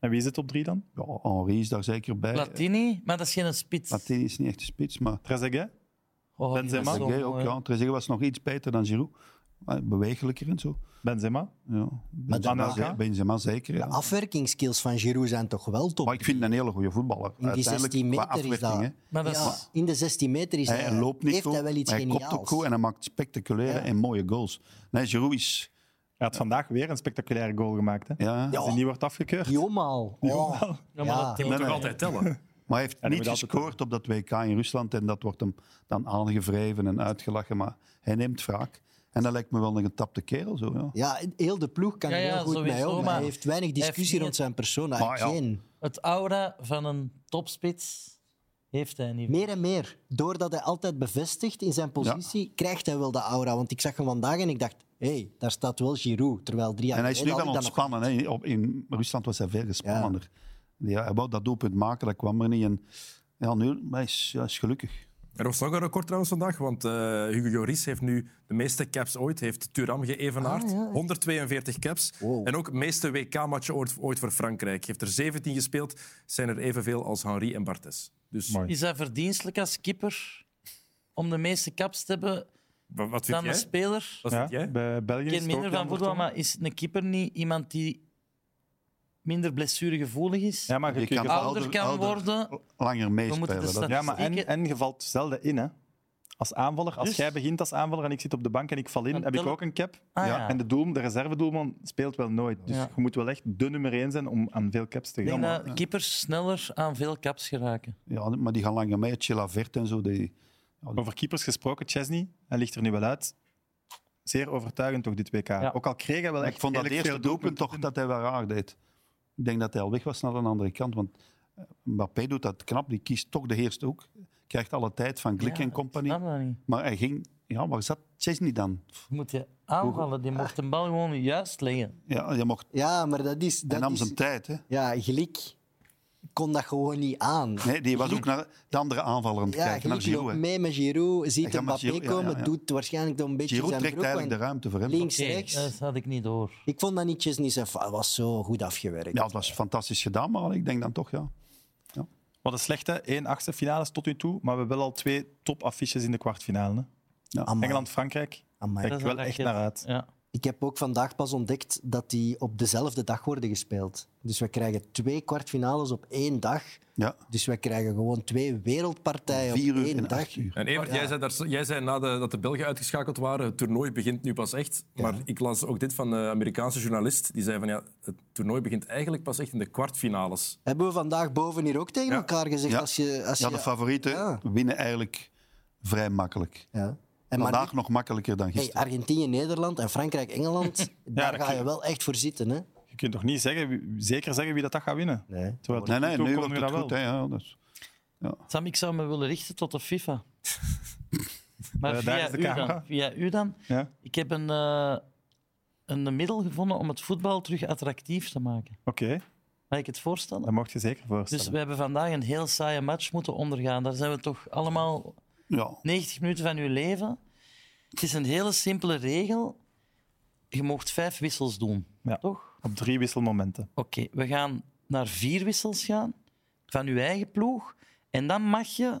[SPEAKER 1] En wie is het op drie dan?
[SPEAKER 3] Ja, Henri is daar zeker bij.
[SPEAKER 4] Platini, maar dat is geen spits.
[SPEAKER 3] Platini is niet echt de spits, maar
[SPEAKER 1] Trezeguet?
[SPEAKER 4] Oh, die
[SPEAKER 1] Benzema.
[SPEAKER 4] was zo
[SPEAKER 3] Trezeguet ook.
[SPEAKER 4] mooi.
[SPEAKER 3] Ja, Trezeguet was nog iets beter dan Giroud. Maar Bewegelijker en zo.
[SPEAKER 1] Benzema?
[SPEAKER 3] Ja, Benzema,
[SPEAKER 1] Anelka?
[SPEAKER 3] ze- Benzema zeker.
[SPEAKER 2] De
[SPEAKER 3] Ja.
[SPEAKER 2] afwerkingskills van Giroud zijn toch wel top.
[SPEAKER 3] Maar ik vind hem een hele goede voetballer.
[SPEAKER 2] in die 16
[SPEAKER 3] qua
[SPEAKER 2] meter is
[SPEAKER 3] afwerking,
[SPEAKER 2] dat.
[SPEAKER 3] hè.
[SPEAKER 4] Maar dat is-
[SPEAKER 2] Ja, in de 16 meter is
[SPEAKER 3] Hij,
[SPEAKER 2] dat.
[SPEAKER 3] loopt niet
[SPEAKER 2] Eh, heeft
[SPEAKER 3] goed,
[SPEAKER 2] hij wel iets
[SPEAKER 3] maar hij
[SPEAKER 2] geniaals.
[SPEAKER 3] kopt ook goed en hij maakt spectaculaire en mooie goals. Nee, Giroud is...
[SPEAKER 1] Hij had vandaag weer een spectaculaire goal gemaakt. Hè?
[SPEAKER 3] Ja,
[SPEAKER 1] Als hij niet wordt afgekeurd.
[SPEAKER 2] Jomaal. Oh.
[SPEAKER 4] Ja, maar
[SPEAKER 2] Ja.
[SPEAKER 4] dat telt
[SPEAKER 6] Moet
[SPEAKER 4] toch
[SPEAKER 6] toch
[SPEAKER 4] al.
[SPEAKER 6] altijd tellen.
[SPEAKER 3] Maar hij heeft
[SPEAKER 1] hij
[SPEAKER 3] niet
[SPEAKER 1] moet altijd
[SPEAKER 3] gescoord op dat WK in Rusland en dat wordt hem dan aangevreven en uitgelachen, maar hij neemt wraak. En dat lijkt me wel een getapte kerel, zo, ja.
[SPEAKER 2] Ja, heel de ploeg kan
[SPEAKER 4] Ja,
[SPEAKER 2] er
[SPEAKER 4] ja,
[SPEAKER 2] heel goed mee
[SPEAKER 4] sowieso,
[SPEAKER 2] om.
[SPEAKER 4] maar
[SPEAKER 2] Hij heeft weinig discussie
[SPEAKER 4] heeft niet-
[SPEAKER 2] rond zijn persoon.
[SPEAKER 3] Maar
[SPEAKER 2] Eigenlijk
[SPEAKER 3] ja.
[SPEAKER 2] geen.
[SPEAKER 4] Het aura van een topspits heeft hij niet.
[SPEAKER 2] Meer en meer. Doordat hij altijd bevestigt in zijn positie, krijgt hij wel de aura. Want ik zag hem vandaag en ik dacht, hé, hey, daar staat wel Giroud. Terwijl drie jaar
[SPEAKER 3] En hij is nu
[SPEAKER 2] geleden
[SPEAKER 3] wel
[SPEAKER 2] had ik dat nog
[SPEAKER 3] ontspannen. hè. Op- In Rusland was hij veel gespannender. Ja, hij wou dat doelpunt maken, dat kwam er niet. En ja, nu hij is hij is gelukkig.
[SPEAKER 6] Er was nog een record trouwens vandaag, want eh, Hugo Lloris heeft nu de meeste caps ooit. Heeft Thuram geëvenaard.
[SPEAKER 4] Ah,
[SPEAKER 6] 142 caps. En ook de meeste WK-matchen ooit, ooit voor Frankrijk. Heeft er 17 gespeeld. Zijn er evenveel als Henri en Barthes. Dus
[SPEAKER 1] Mooi.
[SPEAKER 4] Is dat verdienstelijk als keeper om de meeste kaps te hebben
[SPEAKER 6] wa- wat vind
[SPEAKER 4] dan een
[SPEAKER 6] jij?
[SPEAKER 4] speler?
[SPEAKER 6] Wat
[SPEAKER 1] Ja,
[SPEAKER 6] vind jij?
[SPEAKER 1] bij België
[SPEAKER 4] Ik
[SPEAKER 1] is
[SPEAKER 4] ken
[SPEAKER 1] het ook
[SPEAKER 4] minder
[SPEAKER 1] Jan
[SPEAKER 4] van voetbal,
[SPEAKER 1] Vertongen.
[SPEAKER 4] maar is een keeper niet iemand die minder blessuregevoelig is?
[SPEAKER 1] Ja, maar Oh, je
[SPEAKER 3] Je
[SPEAKER 1] kunt
[SPEAKER 3] kan
[SPEAKER 1] geval-
[SPEAKER 4] ouder kan worden. We moeten
[SPEAKER 3] Langer
[SPEAKER 4] de
[SPEAKER 3] meespelen. dat-
[SPEAKER 4] stad-
[SPEAKER 1] Ja, maar en,
[SPEAKER 4] statistieken-
[SPEAKER 1] en je valt zelden in, hè. Als aanvaller, als
[SPEAKER 4] Dus?
[SPEAKER 1] jij begint als aanvaller en ik zit op de bank en ik val in,
[SPEAKER 4] Dan
[SPEAKER 1] heb ik
[SPEAKER 4] tellen-
[SPEAKER 1] ook een cap.
[SPEAKER 4] Ah, ja.
[SPEAKER 1] En de, doel, de reservedoelman speelt wel nooit. Dus
[SPEAKER 4] Ja.
[SPEAKER 1] je moet wel echt de nummer één zijn om aan veel caps te
[SPEAKER 4] Ik denk
[SPEAKER 1] gaan.
[SPEAKER 4] dat keepers sneller aan veel caps geraken.
[SPEAKER 3] Ja, maar die gaan langer mee. Chilavert en zo. Die,
[SPEAKER 1] Over keepers gesproken, Chesney, hij ligt er nu wel uit. Zeer overtuigend toch, dit WK. Ook al kreeg hij wel echt
[SPEAKER 3] ik vond dat
[SPEAKER 1] redelijk
[SPEAKER 3] eerste
[SPEAKER 1] veel
[SPEAKER 3] doelpunt toch dat hij wel raar deed. Ik denk dat hij al weg was naar de andere kant. Want eh, Mbappé doet dat knap. Die kiest toch de eerste hoek. Krijgt alle tijd van Glik
[SPEAKER 4] Ja,
[SPEAKER 3] en compagnie.
[SPEAKER 4] Ik snap dat niet.
[SPEAKER 3] Maar hij ging... Ja, waar zat Chesney dan?
[SPEAKER 4] Je moet je aanvallen. Die mocht de bal gewoon juist leggen.
[SPEAKER 3] Ja, je mocht...
[SPEAKER 2] Ja, maar dat is...
[SPEAKER 3] Hij
[SPEAKER 2] Dat
[SPEAKER 3] nam
[SPEAKER 2] is-
[SPEAKER 3] zijn tijd, hè.
[SPEAKER 2] Ja, Glik kon dat gewoon niet aan.
[SPEAKER 3] Nee, die was ook naar de andere aanvaller aan het
[SPEAKER 2] Ja,
[SPEAKER 3] kijken, naar
[SPEAKER 2] Glik loopt
[SPEAKER 3] Giroud. hè.
[SPEAKER 2] mee met Giroud, ziet
[SPEAKER 3] Hij gaat
[SPEAKER 2] Mbappé
[SPEAKER 3] met Giroud, ja, ja,
[SPEAKER 2] komen,
[SPEAKER 3] ja.
[SPEAKER 2] doet waarschijnlijk dan een beetje
[SPEAKER 3] Giroud
[SPEAKER 2] zijn
[SPEAKER 3] trekt
[SPEAKER 2] broek
[SPEAKER 3] eigenlijk de
[SPEAKER 2] aan.
[SPEAKER 3] ruimte voor hem.
[SPEAKER 2] Links,
[SPEAKER 4] Oké, eh.
[SPEAKER 2] rechts.
[SPEAKER 4] Dat had ik niet door.
[SPEAKER 2] Ik vond dat niet Chesney zelf hij was zo goed afgewerkt.
[SPEAKER 3] Ja, het was fantastisch gedaan, maar ik denk dan toch, ja.
[SPEAKER 1] Wat een slechte 1 achtste finales tot nu toe, maar we hebben wel al twee topaffiches in de kwartfinale. hè.
[SPEAKER 2] Amai,
[SPEAKER 1] Engeland-Frankrijk,
[SPEAKER 2] amai.
[SPEAKER 1] kijk
[SPEAKER 4] Dat
[SPEAKER 1] ik
[SPEAKER 4] is
[SPEAKER 1] wel
[SPEAKER 4] een
[SPEAKER 1] echt
[SPEAKER 4] raket.
[SPEAKER 1] naar uit.
[SPEAKER 4] Ja.
[SPEAKER 2] Ik heb ook vandaag pas ontdekt dat die op dezelfde dag worden gespeeld. Dus we krijgen twee kwartfinales op één dag.
[SPEAKER 3] Ja,
[SPEAKER 2] Dus we krijgen gewoon twee wereldpartijen
[SPEAKER 3] vier
[SPEAKER 2] op
[SPEAKER 3] uur
[SPEAKER 2] één
[SPEAKER 3] en
[SPEAKER 2] dag.
[SPEAKER 3] acht uur.
[SPEAKER 6] En
[SPEAKER 4] Ah,
[SPEAKER 6] Evert, jij zei, daar, jij zei na de- dat de Belgen uitgeschakeld waren, het toernooi begint nu pas echt. Maar ik las ook dit van een Amerikaanse journalist. Die zei van ja, het toernooi begint eigenlijk pas echt in de kwartfinales.
[SPEAKER 2] Hebben we vandaag boven hier ook tegen
[SPEAKER 6] Ja.
[SPEAKER 2] elkaar gezegd?
[SPEAKER 3] Ja.
[SPEAKER 2] Als je, als
[SPEAKER 3] ja
[SPEAKER 2] je,
[SPEAKER 3] de favorieten
[SPEAKER 2] Ja.
[SPEAKER 3] winnen eigenlijk vrij makkelijk.
[SPEAKER 2] Ja. En maar
[SPEAKER 3] Vandaag nog makkelijker dan
[SPEAKER 2] hey, ah,
[SPEAKER 3] gisteren.
[SPEAKER 2] Argentinië, Nederland en Frankrijk, Engeland, daar
[SPEAKER 1] dat
[SPEAKER 2] ga je
[SPEAKER 1] klopt.
[SPEAKER 2] wel echt voor zitten. Hè?
[SPEAKER 1] Je kunt toch niet zeggen, wie- zeker zeggen wie dat, dat gaat winnen?
[SPEAKER 2] Nee.
[SPEAKER 1] Terwijl tot
[SPEAKER 3] Nee, nee,
[SPEAKER 1] nu toe
[SPEAKER 3] nu
[SPEAKER 1] kon
[SPEAKER 3] wordt
[SPEAKER 1] je
[SPEAKER 3] het
[SPEAKER 1] dat
[SPEAKER 3] goed. Hè, ja, dus.
[SPEAKER 4] Sam, ik zou me willen richten tot de FIFA. Maar
[SPEAKER 1] Eh, daar
[SPEAKER 4] via,
[SPEAKER 1] is de
[SPEAKER 4] u dan,
[SPEAKER 1] camera.
[SPEAKER 4] via u dan.
[SPEAKER 1] Ja.
[SPEAKER 4] Ik heb een, eh, een middel gevonden om het voetbal terug attractief te maken.
[SPEAKER 1] Oké,
[SPEAKER 4] Mag ik het voorstellen?
[SPEAKER 1] dat mocht je zeker voorstellen.
[SPEAKER 4] Dus we hebben vandaag een heel saaie match moeten ondergaan. Daar zijn we toch allemaal
[SPEAKER 3] Ja,
[SPEAKER 4] 90 minuten van uw leven. Het is een hele simpele regel. Je mocht vijf wissels doen,
[SPEAKER 1] Ja.
[SPEAKER 4] toch?
[SPEAKER 1] Op drie wisselmomenten.
[SPEAKER 4] Oké, we gaan naar vier wissels gaan van uw eigen ploeg. En dan mag je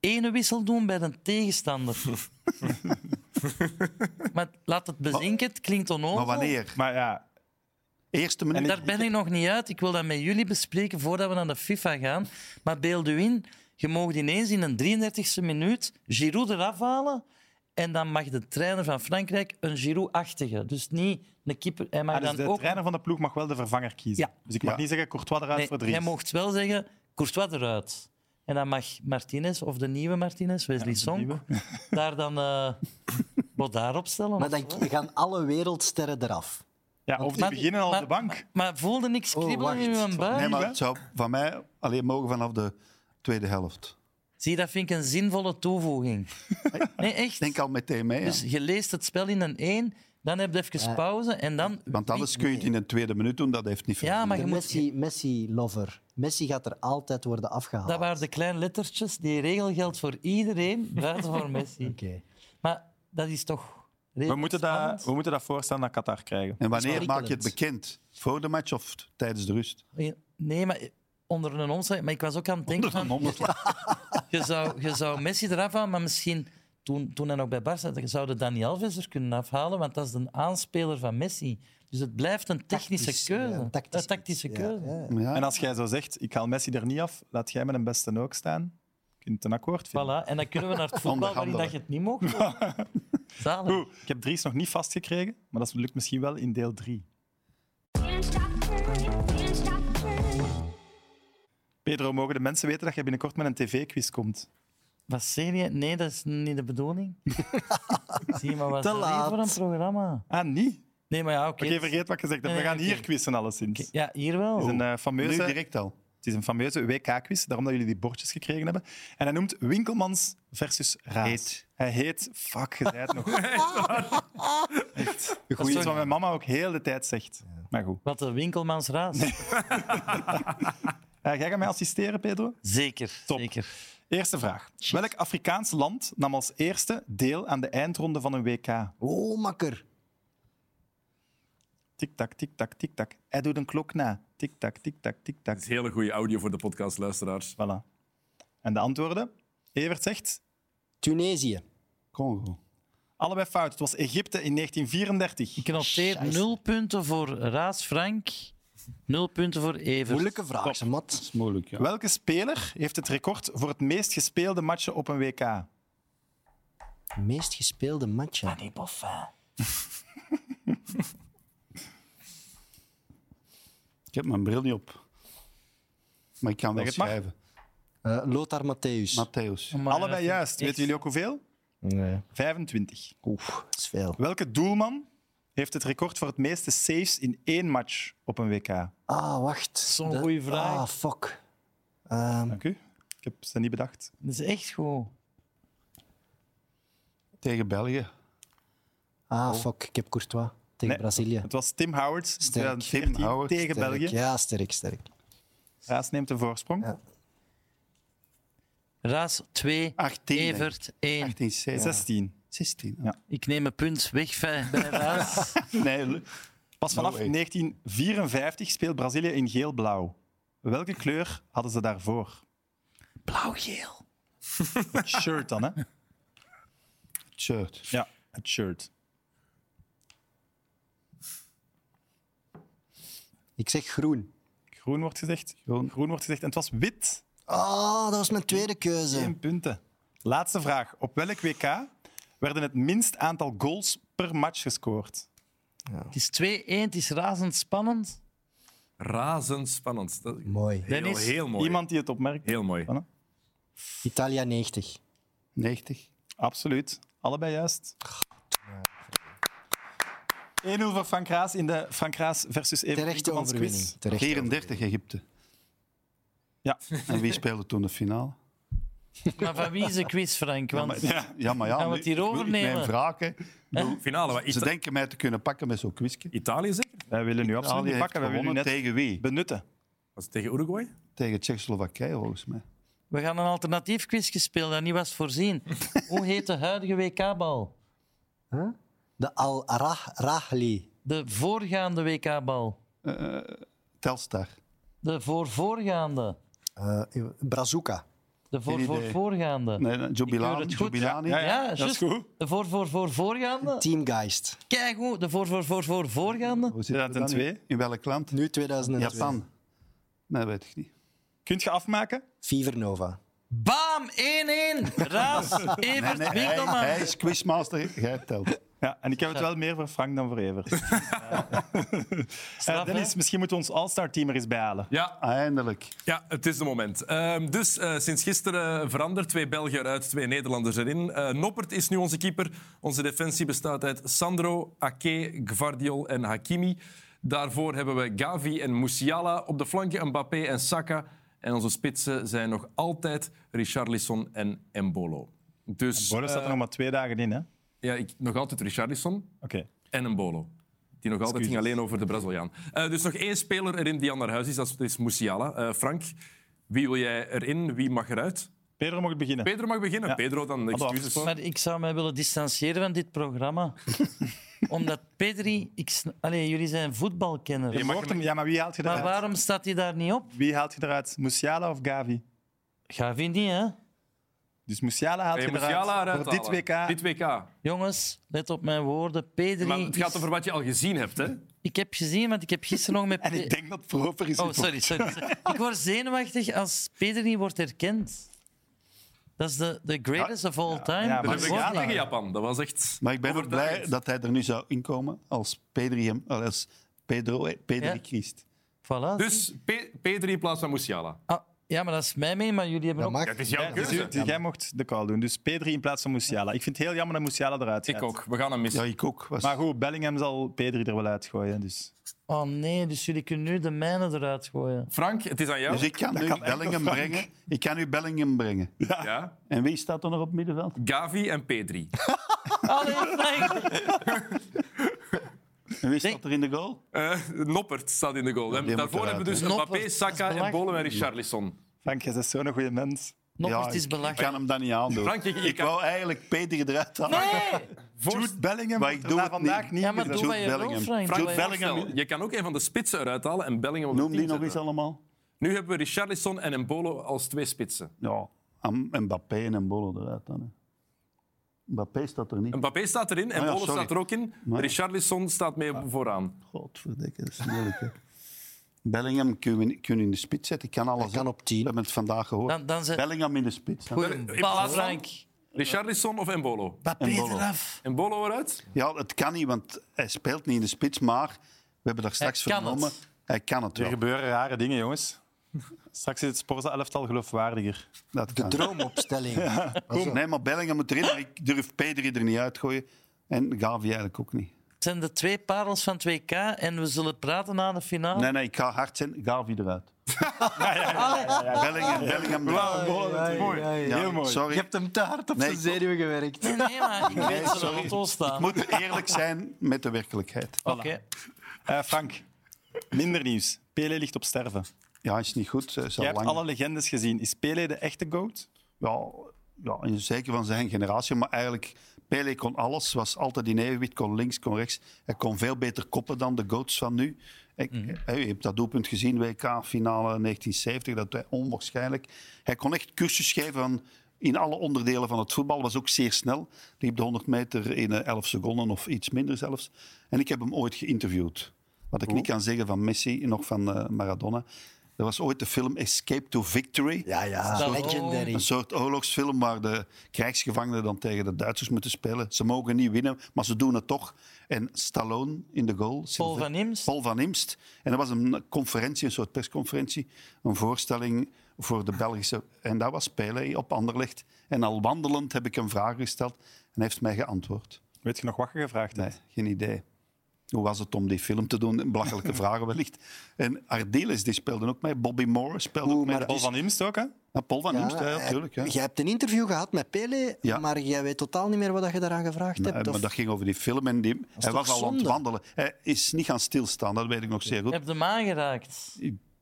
[SPEAKER 4] ene wissel doen bij een tegenstander. maar laat het bezinken, het klinkt onnozel.
[SPEAKER 3] maar wanneer?
[SPEAKER 1] Maar ja,
[SPEAKER 3] Eerste minuut?
[SPEAKER 4] Daar ben ik nog niet uit. Ik wil dat met jullie bespreken voordat we naar de FIFA gaan. Maar beeld u in, je mag ineens in een 33e minuut Giroud eraf halen. En dan mag de trainer van Frankrijk een Giroud-achtige. Dus niet een keeper. Hij mag
[SPEAKER 1] ah, dus
[SPEAKER 4] dan
[SPEAKER 1] de
[SPEAKER 4] ook...
[SPEAKER 1] trainer van de ploeg mag wel de vervanger kiezen.
[SPEAKER 4] Ja.
[SPEAKER 1] Dus ik mag
[SPEAKER 3] Ja.
[SPEAKER 1] niet zeggen Courtois eruit
[SPEAKER 4] Nee,
[SPEAKER 1] voor drie.
[SPEAKER 4] jij mocht wel zeggen, Courtois eruit. En dan mag Martinez, of de nieuwe Martinez, Wesley Song, daar dan eh Bodaar op stellen.
[SPEAKER 2] Maar
[SPEAKER 4] of
[SPEAKER 2] dan
[SPEAKER 4] zo.
[SPEAKER 2] gaan alle wereldsterren eraf.
[SPEAKER 1] Ja, of die
[SPEAKER 4] Maar-
[SPEAKER 1] beginnen al op
[SPEAKER 4] maar-
[SPEAKER 1] de bank.
[SPEAKER 4] Maar voelde niks
[SPEAKER 2] Oh,
[SPEAKER 4] kriebelen
[SPEAKER 2] wacht.
[SPEAKER 4] in mijn buik?
[SPEAKER 3] Nee, maar het zou van mij alleen mogen vanaf de tweede helft.
[SPEAKER 4] Zie, dat vind ik een zinvolle toevoeging. Nee, echt.
[SPEAKER 3] Ik denk al meteen mee. ja.
[SPEAKER 4] Dus je leest het spel in een één, dan heb je even
[SPEAKER 2] Eh,
[SPEAKER 4] pauze en dan...
[SPEAKER 3] Want anders kun je het in de tweede minuut doen, dat heeft niet veel.
[SPEAKER 4] Ja, maar je
[SPEAKER 2] De
[SPEAKER 4] moet...
[SPEAKER 2] Messi, Messi-lover. Messi gaat er altijd worden afgehaald.
[SPEAKER 4] Dat waren de kleine lettertjes. Die regel geldt voor iedereen, buiten voor Messi.
[SPEAKER 2] Oké.
[SPEAKER 4] Maar dat is toch...
[SPEAKER 1] We moeten, dat,
[SPEAKER 4] spannend.
[SPEAKER 1] we moeten dat voorstel naar Qatar krijgen.
[SPEAKER 3] En wanneer
[SPEAKER 2] wel
[SPEAKER 3] maak je het
[SPEAKER 2] prikkelend.
[SPEAKER 3] bekend? Voor de match of t- tijdens de rust?
[SPEAKER 4] Nee, maar onder een omslag. Maar ik was ook aan het denken van... Je zou, je zou Messi eraf halen, maar misschien toen, toen hij nog bij Barca zat, zou de Dani Alves er kunnen afhalen, want dat is een aanspeler van Messi. Dus het blijft een technische
[SPEAKER 2] Tactisch,
[SPEAKER 4] keuze.
[SPEAKER 2] ja,
[SPEAKER 4] Een
[SPEAKER 2] tactisch
[SPEAKER 4] tactische,
[SPEAKER 2] iets, ja,
[SPEAKER 4] keuze.
[SPEAKER 2] ja.
[SPEAKER 3] Ja.
[SPEAKER 1] En als jij zo zegt, ik haal Messi er niet af, laat jij met een beste ook staan. Je kunt een akkoord vinden.
[SPEAKER 4] Voilà. En dan kunnen we naar het voetbal waarin dat je het niet mocht. Zalig.
[SPEAKER 1] Oeh, ik heb Dries nog niet vastgekregen, maar dat lukt misschien wel in deel 3. Pedro, mogen de mensen weten dat jij binnenkort met een tv-quiz komt?
[SPEAKER 4] Wat serie? Nee, dat is niet de bedoling. Zie maar wat
[SPEAKER 2] Te
[SPEAKER 4] is dat hier
[SPEAKER 2] laat.
[SPEAKER 4] voor een programma.
[SPEAKER 1] Ah, niet? Oké,
[SPEAKER 4] Nee, maar ja, oké.
[SPEAKER 1] vergeet wat ik gezegd heb.
[SPEAKER 4] Nee,
[SPEAKER 1] We gaan
[SPEAKER 4] oké.
[SPEAKER 1] hier quizzen, alleszins. Het
[SPEAKER 4] Ja, hier wel.
[SPEAKER 1] is een, eh,
[SPEAKER 3] Nu
[SPEAKER 1] fameuze,
[SPEAKER 3] direct al.
[SPEAKER 1] het is een fameuze WK-quiz, daarom dat jullie die bordjes gekregen hebben. En hij noemt Winkelmans versus Raas.
[SPEAKER 3] Heet.
[SPEAKER 1] Hij heet... Fuck, je zei het nog. Echt.
[SPEAKER 4] is
[SPEAKER 1] Goed, iets
[SPEAKER 4] toch-
[SPEAKER 1] wat mijn mama ook heel de tijd zegt. Maar goed.
[SPEAKER 4] Wat een winkelmans raas.
[SPEAKER 1] Eh, jij gaat mij assisteren, Pedro?
[SPEAKER 4] Zeker,
[SPEAKER 1] Top.
[SPEAKER 4] zeker.
[SPEAKER 1] Eerste vraag. Welk Afrikaans land nam als eerste deel aan de eindronde van een WK?
[SPEAKER 2] Oh, makker.
[SPEAKER 1] Tik-tak, tik-tak, tik-tak. Hij doet een klok na. Tik-tak, tik-tak, tik-tak.
[SPEAKER 6] Dat is hele goede audio voor de podcastluisteraars.
[SPEAKER 1] Voilà. En de antwoorden? Evert zegt
[SPEAKER 2] Tunesië.
[SPEAKER 3] Congo.
[SPEAKER 1] allebei fout. Het was Egypte in 1934.
[SPEAKER 4] Ik noteer nul punten voor Raas Frank, nul punten voor Evers.
[SPEAKER 2] Moeilijke vraag, ze, Mat.
[SPEAKER 3] Dat is moeilijk, ja.
[SPEAKER 1] Welke speler heeft het record voor het meest gespeelde matchen op een WK?
[SPEAKER 2] Meest gespeelde matchen.
[SPEAKER 4] Danny Boffin.
[SPEAKER 3] Ik heb mijn bril niet op. Maar ik kan wel
[SPEAKER 1] het mag.
[SPEAKER 3] schrijven.
[SPEAKER 2] Eh Lothar Matthäus.
[SPEAKER 3] Matthäus.
[SPEAKER 4] Maar,
[SPEAKER 1] Allebei
[SPEAKER 4] eh,
[SPEAKER 1] juist.
[SPEAKER 4] echt.
[SPEAKER 1] Weten jullie ook hoeveel?
[SPEAKER 2] nee.
[SPEAKER 1] 25.
[SPEAKER 2] Oef, dat is veel.
[SPEAKER 1] Welke doelman heeft het record voor het meeste saves in één match op een WK?
[SPEAKER 2] Ah, wacht.
[SPEAKER 4] Zo'n
[SPEAKER 2] Dat-
[SPEAKER 4] goeie vraag.
[SPEAKER 2] Ah, fuck. Ehm,
[SPEAKER 1] Dank u. Ik heb ze niet bedacht.
[SPEAKER 4] Dat is echt goed.
[SPEAKER 3] Tegen België.
[SPEAKER 2] ah, fuck. Ik heb Courtois tegen
[SPEAKER 1] Nee.
[SPEAKER 2] Brazilië.
[SPEAKER 1] Het was Tim Howard in
[SPEAKER 2] Sterk.
[SPEAKER 1] 2014
[SPEAKER 3] Tim Howard,
[SPEAKER 1] tegen
[SPEAKER 2] Sterk.
[SPEAKER 1] België.
[SPEAKER 2] Ja, sterk, sterk.
[SPEAKER 1] Raas neemt de voorsprong.
[SPEAKER 2] Ja.
[SPEAKER 4] Raas 2,
[SPEAKER 1] Ah,
[SPEAKER 3] 18. denk ik.
[SPEAKER 4] Evert 1.
[SPEAKER 3] 18, 17.
[SPEAKER 1] 16.
[SPEAKER 3] 16.
[SPEAKER 1] Ja.
[SPEAKER 4] Ik neem een punt weg bij bij Raas.
[SPEAKER 3] Nee, lu-
[SPEAKER 1] Pas vanaf
[SPEAKER 3] way.
[SPEAKER 1] 1954 speelt Brazilië in geel-blauw. Welke kleur hadden ze daarvoor?
[SPEAKER 4] Blauw-geel.
[SPEAKER 1] Het shirt dan, hè?
[SPEAKER 3] het shirt.
[SPEAKER 1] Ja, het shirt.
[SPEAKER 2] Ik zeg groen.
[SPEAKER 1] Groen wordt gezegd.
[SPEAKER 3] Groen.
[SPEAKER 1] Groen wordt gezegd. En het was wit.
[SPEAKER 2] Ah, dat was mijn tweede keuze.
[SPEAKER 1] Geen punten. Laatste vraag. Op welk WK werden het minst aantal goals per match gescoord?
[SPEAKER 4] Het is 2-1, het is razend spannend.
[SPEAKER 6] Razendspannend. Dat
[SPEAKER 2] Mooi.
[SPEAKER 6] heel,
[SPEAKER 4] Dennis,
[SPEAKER 6] heel mooi.
[SPEAKER 1] Iemand die het opmerkt?
[SPEAKER 6] Heel mooi.
[SPEAKER 1] Voilà.
[SPEAKER 2] Italia 90.
[SPEAKER 3] 90.
[SPEAKER 1] Absoluut. Allebei juist. 1-0 voor Frank Raas in de Frank Raas versus Evert
[SPEAKER 2] Terechte
[SPEAKER 1] Winkelmans
[SPEAKER 2] overwinning.
[SPEAKER 1] quiz.
[SPEAKER 2] Terechte.
[SPEAKER 3] 34 Egypte.
[SPEAKER 1] Ja.
[SPEAKER 3] En wie speelde toen de finale?
[SPEAKER 4] Maar van wie is de quiz, Frank? Want
[SPEAKER 3] Ja, maar ja.
[SPEAKER 4] Gaan we het
[SPEAKER 3] nu-
[SPEAKER 4] hier
[SPEAKER 3] ik wil
[SPEAKER 4] overnemen?
[SPEAKER 3] niet Mijn vragen.
[SPEAKER 6] Finale. wat is
[SPEAKER 3] Ze
[SPEAKER 6] dat?
[SPEAKER 3] denken mij te kunnen pakken met zo'n quizje.
[SPEAKER 6] Italië zeker?
[SPEAKER 1] Wij willen nu absoluut niet
[SPEAKER 3] heeft
[SPEAKER 1] pakken. Wij willen u
[SPEAKER 3] gewonnen
[SPEAKER 1] net
[SPEAKER 3] tegen wie?
[SPEAKER 1] benutten.
[SPEAKER 6] Was het tegen Uruguay?
[SPEAKER 3] Tegen Tsjechoslowakije, volgens mij.
[SPEAKER 4] we gaan een alternatief quizje spelen dat niet was voorzien. Hoe heet de huidige WK-bal?
[SPEAKER 2] De Al-Rahli.
[SPEAKER 4] De voorgaande WK-bal.
[SPEAKER 3] Telstar.
[SPEAKER 4] De voorvoorgaande.
[SPEAKER 2] Eh, Brazuka.
[SPEAKER 4] De voor,
[SPEAKER 3] Geen
[SPEAKER 4] voor,
[SPEAKER 3] idee.
[SPEAKER 4] voorgaande.
[SPEAKER 3] Nee, nee,
[SPEAKER 4] keur
[SPEAKER 3] Jubilani.
[SPEAKER 4] het goed.
[SPEAKER 3] Jubilani.
[SPEAKER 4] ja,
[SPEAKER 1] dat
[SPEAKER 4] juist.
[SPEAKER 1] is goed.
[SPEAKER 4] De voor, voor, voor, voorgaande.
[SPEAKER 2] Teamgeist.
[SPEAKER 4] Kijk hoe, de voor, voor, voor, voor, voorgaande.
[SPEAKER 3] Hoe zit
[SPEAKER 1] Ja,
[SPEAKER 3] het
[SPEAKER 1] ten
[SPEAKER 3] dan?
[SPEAKER 1] twee.
[SPEAKER 3] In welk land?
[SPEAKER 2] Nu 2002.
[SPEAKER 3] Japan. Nee, weet ik niet.
[SPEAKER 1] Kunt je afmaken?
[SPEAKER 2] Fever Nova.
[SPEAKER 4] Bam! 1-1. Raas, Evert,
[SPEAKER 3] Nee, hij,
[SPEAKER 4] Winkelman.
[SPEAKER 3] hij is quizmaster, jij telt.
[SPEAKER 1] Ja, en ik heb het wel meer voor Frank dan voor Evert. Eh,
[SPEAKER 4] Straf,
[SPEAKER 1] Dennis,
[SPEAKER 4] hè?
[SPEAKER 1] misschien moeten we ons All-Star-team er eens bij halen.
[SPEAKER 6] Ja,
[SPEAKER 3] Eindelijk.
[SPEAKER 6] Ja, het is de moment. Ehm, dus eh, sinds gisteren veranderd. Twee Belgen eruit, twee Nederlanders erin. Eh, Noppert is nu onze keeper. Onze defensie bestaat uit Sandro, Ake, Gvardiol en Hakimi. Daarvoor hebben we Gavi en Musiala. Op de flanken Mbappé en Saka. En onze spitsen zijn nog altijd Richarlison en Mbolo. Dus
[SPEAKER 1] Boris staat er
[SPEAKER 6] eh,
[SPEAKER 1] nog maar twee dagen in, hè? Oké.
[SPEAKER 6] ja, ik, nog altijd Richarlison en een bolo. Die nog altijd ging
[SPEAKER 1] Excuses.
[SPEAKER 6] alleen over de Braziliaan. Eh, dus nog één speler erin die al naar huis is, dat is Musiala. Eh, Frank, wie wil jij erin, wie mag eruit?
[SPEAKER 1] Pedro mag beginnen.
[SPEAKER 6] Pedro mag beginnen. Pedro, dan
[SPEAKER 1] we
[SPEAKER 6] excuses.
[SPEAKER 1] afgesproken.
[SPEAKER 4] Maar ik zou mij willen distancieren van dit programma. Omdat Pedri... Ik, sn- Allee, jullie zijn voetbalkenners.
[SPEAKER 1] Je mocht hem, ja, maar wie haalt je
[SPEAKER 4] Maar
[SPEAKER 1] eruit?
[SPEAKER 4] waarom staat hij daar niet op?
[SPEAKER 1] Wie haalt je eruit? Musiala of Gavi?
[SPEAKER 4] Gavi niet, hè?
[SPEAKER 1] Dus Musiala haalt
[SPEAKER 6] Hey,
[SPEAKER 1] je
[SPEAKER 6] Musiala
[SPEAKER 1] eruit
[SPEAKER 6] eruit
[SPEAKER 1] voor dit
[SPEAKER 6] halen.
[SPEAKER 1] WK.
[SPEAKER 6] Dit WK.
[SPEAKER 4] Jongens, let op mijn woorden. Pedri
[SPEAKER 6] Maar het gaat
[SPEAKER 4] is-
[SPEAKER 6] over wat je al gezien hebt, hè?
[SPEAKER 4] Ik heb gezien, want ik heb gisteren nog met...
[SPEAKER 1] En ik
[SPEAKER 4] Pe-
[SPEAKER 1] denk dat Proper is.
[SPEAKER 4] Oh, sorry, sorry. sorry. ik word zenuwachtig als Pedri niet wordt herkend. Dat is de, de greatest of all time.
[SPEAKER 1] ja, maar
[SPEAKER 6] Dat
[SPEAKER 1] Mag
[SPEAKER 6] heb ik
[SPEAKER 1] worden.
[SPEAKER 6] gedaan
[SPEAKER 4] Award.
[SPEAKER 6] tegen Japan. Dat was echt...
[SPEAKER 3] Maar ik ben ook blij
[SPEAKER 6] overtuigend.
[SPEAKER 3] dat hij er nu zou inkomen als, Pedri hem, eh, als Pedro, eh, Pedri
[SPEAKER 4] Ja.
[SPEAKER 3] kiest.
[SPEAKER 4] Voilà.
[SPEAKER 6] Dus Pe- Pedri in plaats van Musiala.
[SPEAKER 4] Ah, ja, maar dat is mijn mening, maar jullie
[SPEAKER 2] Dat
[SPEAKER 4] hebben ook...
[SPEAKER 2] mag.
[SPEAKER 6] Dat is jouw
[SPEAKER 1] Dus
[SPEAKER 6] keuze.
[SPEAKER 1] u- jij mocht de call doen. Dus Pedri in plaats van Musiala. Ik vind het heel jammer dat Musiala eruit gaat.
[SPEAKER 6] Ik ook. We gaan hem missen.
[SPEAKER 3] Ja, ik ook. Was,
[SPEAKER 1] Maar goed, Bellingham zal Pedri er wel uitgooien. Dus.
[SPEAKER 4] Oh nee, dus jullie kunnen nu de mijne eruit gooien.
[SPEAKER 6] Frank, het is aan jou.
[SPEAKER 3] dus ik kan nu
[SPEAKER 1] kan enkel
[SPEAKER 3] Bellingham
[SPEAKER 1] Frank.
[SPEAKER 3] brengen. Ik kan nu Bellingham brengen.
[SPEAKER 6] Ja.
[SPEAKER 3] En wie staat er nog op het middenveld?
[SPEAKER 6] Gavi en Pedri.
[SPEAKER 4] Allee, Frank!
[SPEAKER 3] En wie staat er in de goal?
[SPEAKER 4] Oh,
[SPEAKER 6] Eh, Noppert staat in de goal. En
[SPEAKER 3] die moet
[SPEAKER 6] daarvoor
[SPEAKER 3] eruit,
[SPEAKER 6] hebben we dus
[SPEAKER 4] hè.
[SPEAKER 6] Mbappé,
[SPEAKER 4] Noppert, dat
[SPEAKER 6] Saka
[SPEAKER 4] is
[SPEAKER 6] en Bolen en
[SPEAKER 4] belachelijk.
[SPEAKER 6] Richarlison.
[SPEAKER 1] Frank, jij bent zo'n goede mens.
[SPEAKER 4] Nog
[SPEAKER 3] Ja,
[SPEAKER 4] eens, het is
[SPEAKER 3] ik- Ik
[SPEAKER 4] belachelijk.
[SPEAKER 3] kan hem dat niet aandoen.
[SPEAKER 6] Frank, je- je
[SPEAKER 3] ik
[SPEAKER 6] kan-
[SPEAKER 3] wou eigenlijk Pedri eruit halen.
[SPEAKER 4] Nee!
[SPEAKER 1] Jude Bellingham
[SPEAKER 3] maar
[SPEAKER 1] wordt
[SPEAKER 3] ik doe
[SPEAKER 1] er na
[SPEAKER 3] het
[SPEAKER 1] vandaag
[SPEAKER 3] niet.
[SPEAKER 1] niet
[SPEAKER 4] Ja, maar
[SPEAKER 1] gezet.
[SPEAKER 4] doe wat
[SPEAKER 3] Jude
[SPEAKER 4] je wil,
[SPEAKER 3] Bellingham.
[SPEAKER 4] Frank.
[SPEAKER 6] Frank,
[SPEAKER 4] Doe wat je wil.
[SPEAKER 6] voorstel, je kan ook een van de spitsen eruit halen en Bellingham op de
[SPEAKER 3] Noem die
[SPEAKER 6] tien
[SPEAKER 3] nog eens
[SPEAKER 6] zetten.
[SPEAKER 3] allemaal.
[SPEAKER 6] Nu hebben we Richarlison en Embolo als twee spitsen.
[SPEAKER 3] Ja, Am- Mbappé en Bolo eruit dan. hè. Mbappé staat er niet.
[SPEAKER 6] Mbappé staat erin, en Embolo
[SPEAKER 3] Ah sorry.
[SPEAKER 6] staat er ook in. Richarlison staat mee vooraan.
[SPEAKER 3] Godverdikke, dat is moeilijk. hè. Bellingham kun je, kun je in de spits zetten. Ik kan alles.
[SPEAKER 2] kan
[SPEAKER 3] hè.
[SPEAKER 2] op tien.
[SPEAKER 3] We hebben het vandaag gehoord.
[SPEAKER 4] Dan- dan zet-
[SPEAKER 3] Bellingham in de spits. hè.
[SPEAKER 4] Goeie
[SPEAKER 6] In
[SPEAKER 4] bal,
[SPEAKER 6] plaats van-
[SPEAKER 4] Frank.
[SPEAKER 6] Richarlison of Embolo?
[SPEAKER 3] Peteraf.
[SPEAKER 6] Embolo eruit?
[SPEAKER 3] Ja, het kan niet, want hij speelt niet in de spits, maar we hebben daar straks
[SPEAKER 4] kan
[SPEAKER 3] vernomen.
[SPEAKER 4] het.
[SPEAKER 3] Hij kan het
[SPEAKER 1] Er
[SPEAKER 3] wel.
[SPEAKER 1] gebeuren rare dingen, jongens. Straks is het Sporza elftal geloofwaardiger.
[SPEAKER 3] Dat kan.
[SPEAKER 2] Droomopstelling.
[SPEAKER 3] Kom, Nee, maar Bellingham moet erin. maar Ik durf Pedri er niet uitgooien. En Gavi eigenlijk ook niet.
[SPEAKER 4] Het zijn de twee parels van 2K en we zullen praten na de finale.
[SPEAKER 3] Nee, nee, ik ga hard zijn. Gavi eruit. Bellingham, Bellingham eruit.
[SPEAKER 1] mooi.
[SPEAKER 3] Ja,
[SPEAKER 1] Heel mooi.
[SPEAKER 3] Sorry.
[SPEAKER 2] Je hebt hem te hard op
[SPEAKER 3] Nee,
[SPEAKER 2] zijn
[SPEAKER 3] ik-
[SPEAKER 2] zenuwen gewerkt.
[SPEAKER 4] Nee, nee, maar ik weet ze
[SPEAKER 3] sorry.
[SPEAKER 4] er rot staan.
[SPEAKER 3] Ik moet eerlijk zijn met de werkelijkheid.
[SPEAKER 4] Oké.
[SPEAKER 1] Eh, Frank, minder nieuws. Pele ligt op sterven.
[SPEAKER 3] Ja, is niet goed. Hij is al
[SPEAKER 1] Jij hebt
[SPEAKER 3] lang-
[SPEAKER 1] alle legendes gezien. Is Pele de echte goat?
[SPEAKER 3] ja, ja, en zeker van zijn generatie, maar eigenlijk Pelé kon alles, was altijd in evenwicht, kon links, kon rechts. Hij kon veel beter koppen dan de goats van nu. Ik,
[SPEAKER 2] Mhm.
[SPEAKER 3] hè, je hebt dat doelpunt gezien, WK-finale 1970, dat hij onwaarschijnlijk... Hij kon echt cursus geven van, in alle onderdelen van het voetbal, was ook zeer snel. Liep de 100 meter in eh, 11 seconden of iets minder zelfs. En ik heb hem ooit geïnterviewd. Wat
[SPEAKER 2] Oh.
[SPEAKER 3] ik niet kan zeggen van Messi, nog van eh, Maradona. Er was ooit de film Escape to Victory.
[SPEAKER 2] Ja,
[SPEAKER 3] Ah.
[SPEAKER 2] ja.
[SPEAKER 4] Daarom.
[SPEAKER 2] Legendary.
[SPEAKER 3] Een soort oorlogsfilm waar de krijgsgevangenen dan tegen de Duitsers moeten spelen. Ze mogen niet winnen, maar ze doen het toch. En Stallone in de goal. Sylve-
[SPEAKER 4] van Imst.
[SPEAKER 3] Paul van Imst. En dat was een conferentie, een soort persconferentie. Een voorstelling voor de Belgische... En dat was Pelé op Anderlecht. En al wandelend heb ik hem vragen gesteld. En hij heeft mij geantwoord.
[SPEAKER 1] Weet je nog wat je gevraagd
[SPEAKER 3] Nee,
[SPEAKER 1] hebt?
[SPEAKER 3] geen idee. Hoe was het om die film te doen? Belachelijke vragen wellicht. En Ardiles die speelde ook mee. Bobby Moore speelde ook mee.
[SPEAKER 2] maar
[SPEAKER 1] Paul van Imst ook, hè?
[SPEAKER 3] Ja, Paul van Imst, ja,
[SPEAKER 2] Ja,
[SPEAKER 3] natuurlijk. Ja.
[SPEAKER 2] Eh, Jij hebt een interview gehad met Pele,
[SPEAKER 3] Ja.
[SPEAKER 2] maar jij weet totaal niet meer wat je daaraan gevraagd
[SPEAKER 3] Nee,
[SPEAKER 2] hebt.
[SPEAKER 3] maar
[SPEAKER 2] Of...
[SPEAKER 3] dat ging over die film en die, hij
[SPEAKER 2] toch
[SPEAKER 3] was al aan het
[SPEAKER 2] zonde?
[SPEAKER 3] wandelen. Hij is niet gaan stilstaan, dat weet ik nog zeer
[SPEAKER 4] Ik
[SPEAKER 3] goed.
[SPEAKER 4] heb hem aangeraakt.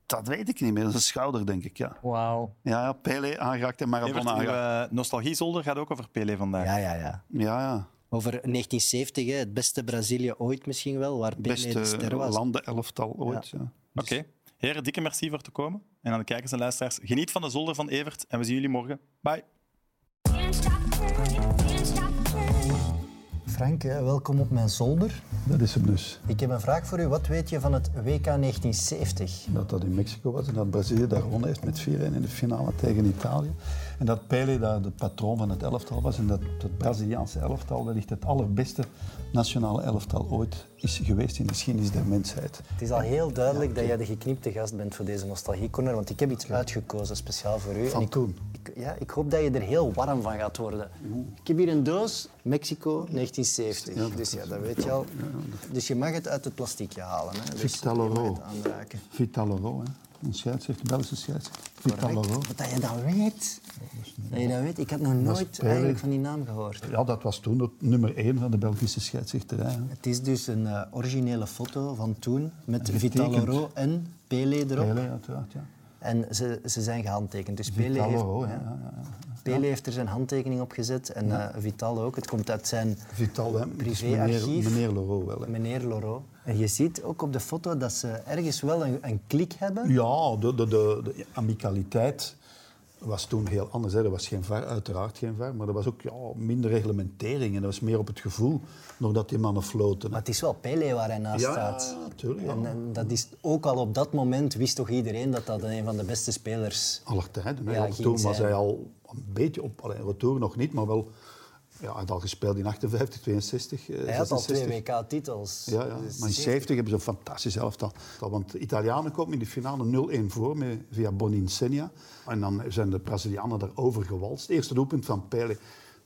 [SPEAKER 3] Dat weet ik niet meer, dat is een schouder, denk ik. Ja,
[SPEAKER 4] Wauw.
[SPEAKER 3] ja, ja Pele aangeraakt en
[SPEAKER 1] Evert,
[SPEAKER 3] Maradona
[SPEAKER 1] uw,
[SPEAKER 3] aangeraakt.
[SPEAKER 1] eh, nostalgiezolder gaat ook over Pele vandaag.
[SPEAKER 2] Ja, ja, ja.
[SPEAKER 3] Ja, ja.
[SPEAKER 2] Over 1970, hè, het beste Brazilië ooit misschien wel, waar Pele de
[SPEAKER 3] Beste
[SPEAKER 2] ster was.
[SPEAKER 3] landenelftal ooit. Ja.
[SPEAKER 1] Oké. Heren, dikke merci voor te komen. En aan de kijkers en luisteraars, geniet van de zolder van Evert. En we zien jullie morgen. Bye.
[SPEAKER 5] Can't stop learning, can't stop learning.
[SPEAKER 2] Frank, hè, welkom op mijn zolder.
[SPEAKER 3] Dat is hem dus.
[SPEAKER 2] Ik heb een vraag voor u. Wat weet je van het WK 1970?
[SPEAKER 3] Dat dat in Mexico was en dat Brazilië daar gewonnen heeft met 4-1 in de finale tegen Italië. En dat Pele daar de patroon van het elftal was. En dat het Braziliaanse elftal wellicht het allerbeste nationale elftal ooit is geweest in de geschiedenis der mensheid.
[SPEAKER 2] Het is al heel duidelijk dat jij de geknipte gast bent voor deze nostalgiecorner, want ik heb iets uitgekozen speciaal voor u.
[SPEAKER 3] Van
[SPEAKER 2] En ik,
[SPEAKER 3] toen.
[SPEAKER 2] ik- ja, ik hoop dat je er heel warm van gaat worden. Ik heb hier een doos, Mexico 1970. dus ja, dat weet je al. Dus je mag het uit het plastiekje halen. Hè. Dus je
[SPEAKER 3] Vitalo
[SPEAKER 2] mag
[SPEAKER 3] Ro.
[SPEAKER 2] het aanraken.
[SPEAKER 3] Vital Leroux, hè. Een scheidsrechter, de Belgische scheidsrechter. Vital Leroux.
[SPEAKER 2] Dat je dat weet. Dat je dat weet. Ik had nog nooit
[SPEAKER 3] Pele.
[SPEAKER 2] eigenlijk van die naam gehoord.
[SPEAKER 3] Ja, dat was toen het nummer één van de Belgische scheidsrechterij. hè.
[SPEAKER 2] Het is dus een eh, originele foto van toen met
[SPEAKER 3] Getekend.
[SPEAKER 2] Vitalo Ro en Pele erop.
[SPEAKER 3] Pele, uiteraard, ja.
[SPEAKER 2] En ze, ze zijn gehandtekend. Dus Pele
[SPEAKER 3] Vital
[SPEAKER 2] heeft,
[SPEAKER 3] Leroux, ja, ja, ja.
[SPEAKER 2] Pele heeft er zijn handtekening op gezet en eh, Vital ook. Het komt uit zijn
[SPEAKER 3] Vital, hè. Dus meneer,
[SPEAKER 2] Privéarchief.
[SPEAKER 3] meneer Leroux wel. hè.
[SPEAKER 2] meneer Loro. En je ziet ook op de foto dat ze ergens wel een, een klik hebben.
[SPEAKER 3] Ja, de, de, de, de amicaliteit was toen heel anders. Hè. Er was geen var, uiteraard geen var, maar er was ook ja, minder reglementering. En dat was meer op het gevoel, nog dat die mannen floten. hè.
[SPEAKER 2] Maar het is wel Pele waar hij naast
[SPEAKER 3] Ja,
[SPEAKER 2] staat.
[SPEAKER 3] ja, tuurlijk, ja.
[SPEAKER 2] En, en dat is ook al op dat moment wist toch iedereen dat dat een van de beste spelers
[SPEAKER 3] Aller tijden. hè.
[SPEAKER 2] Ja,
[SPEAKER 3] Want
[SPEAKER 2] ging
[SPEAKER 3] toen was
[SPEAKER 2] zijn.
[SPEAKER 3] hij al een beetje op, alleen retour nog niet, maar wel... Ja, hij had al gespeeld in 58, 62, eh,
[SPEAKER 2] Hij had al
[SPEAKER 3] 66.
[SPEAKER 2] twee WK-titels.
[SPEAKER 3] Ja, ja.
[SPEAKER 2] Dus
[SPEAKER 3] maar in 70 hebben ze een fantastisch elftal. Want de Italianen komen in de finale 0-1 voor met, via Boninsegna. En dan zijn de Brazilianen daarover gewalst. Eerste doelpunt van Pele.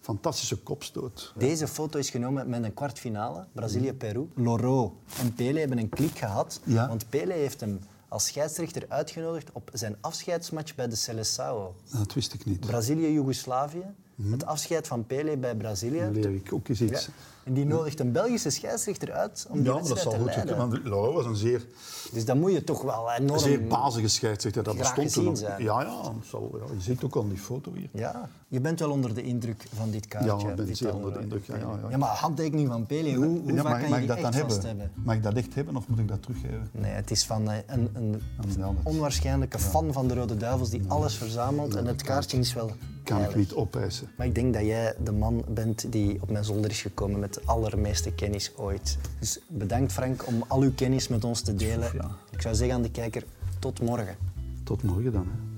[SPEAKER 3] Fantastische kopstoot.
[SPEAKER 2] Deze foto is genomen met een kwartfinale, Brazilië-Peru. Loro en Pele hebben een klik gehad,
[SPEAKER 3] Ja.
[SPEAKER 2] want Pele heeft hem als scheidsrechter uitgenodigd op zijn afscheidsmatch bij de Seleção.
[SPEAKER 3] Dat wist ik niet.
[SPEAKER 2] Brazilië-Joegoslavië,
[SPEAKER 3] Mhm.
[SPEAKER 2] het afscheid van Pele bij
[SPEAKER 3] Dan
[SPEAKER 2] Brazilië.
[SPEAKER 3] leer ik ook eens iets.
[SPEAKER 2] Ja. En die nodigt een Belgische scheidsrechter uit om die
[SPEAKER 3] Ja, maar dat
[SPEAKER 2] wedstrijd
[SPEAKER 3] zal
[SPEAKER 2] te
[SPEAKER 3] goed zitten.
[SPEAKER 2] leiden.
[SPEAKER 3] Want Loro was een zeer,
[SPEAKER 2] Dus dan moet je toch wel enorm...
[SPEAKER 3] zeer bazige scheidsrechter. Dat
[SPEAKER 2] Graag
[SPEAKER 3] bestond toen
[SPEAKER 2] gezien
[SPEAKER 3] ook.
[SPEAKER 2] zijn.
[SPEAKER 3] Ja, ja, dat zal, ja. Je ziet ook al die foto hier.
[SPEAKER 2] Ja, je bent wel onder de indruk van dit kaartje.
[SPEAKER 3] Ja, ik ben
[SPEAKER 2] Vital
[SPEAKER 3] zeer onder de
[SPEAKER 2] Loro.
[SPEAKER 3] indruk, ja, ja, ja.
[SPEAKER 2] ja maar handtekening van Pele, hoe, hoe vaak
[SPEAKER 3] Ja,
[SPEAKER 2] kan
[SPEAKER 3] mag, mag
[SPEAKER 2] je
[SPEAKER 3] ik
[SPEAKER 2] die
[SPEAKER 3] dat dan
[SPEAKER 2] echt vast
[SPEAKER 3] hebben?
[SPEAKER 2] hebben?
[SPEAKER 3] Mag ik dat echt hebben of moet ik dat teruggeven?
[SPEAKER 2] Nee, het is van eh, een, een
[SPEAKER 3] Ja, dat-
[SPEAKER 2] onwaarschijnlijke fan van de Rode Duivels die alles verzamelt. En het kaartje is wel
[SPEAKER 3] Kan ik
[SPEAKER 2] heilig.
[SPEAKER 3] niet opeisen.
[SPEAKER 2] Maar ik denk dat jij de man bent die op mijn zolder is gekomen met de allermeeste kennis ooit. Dus bedankt Frank om al uw kennis met ons te delen.
[SPEAKER 3] Ja.
[SPEAKER 2] Ik zou zeggen aan de kijker, tot morgen.
[SPEAKER 3] Tot morgen dan. Hè.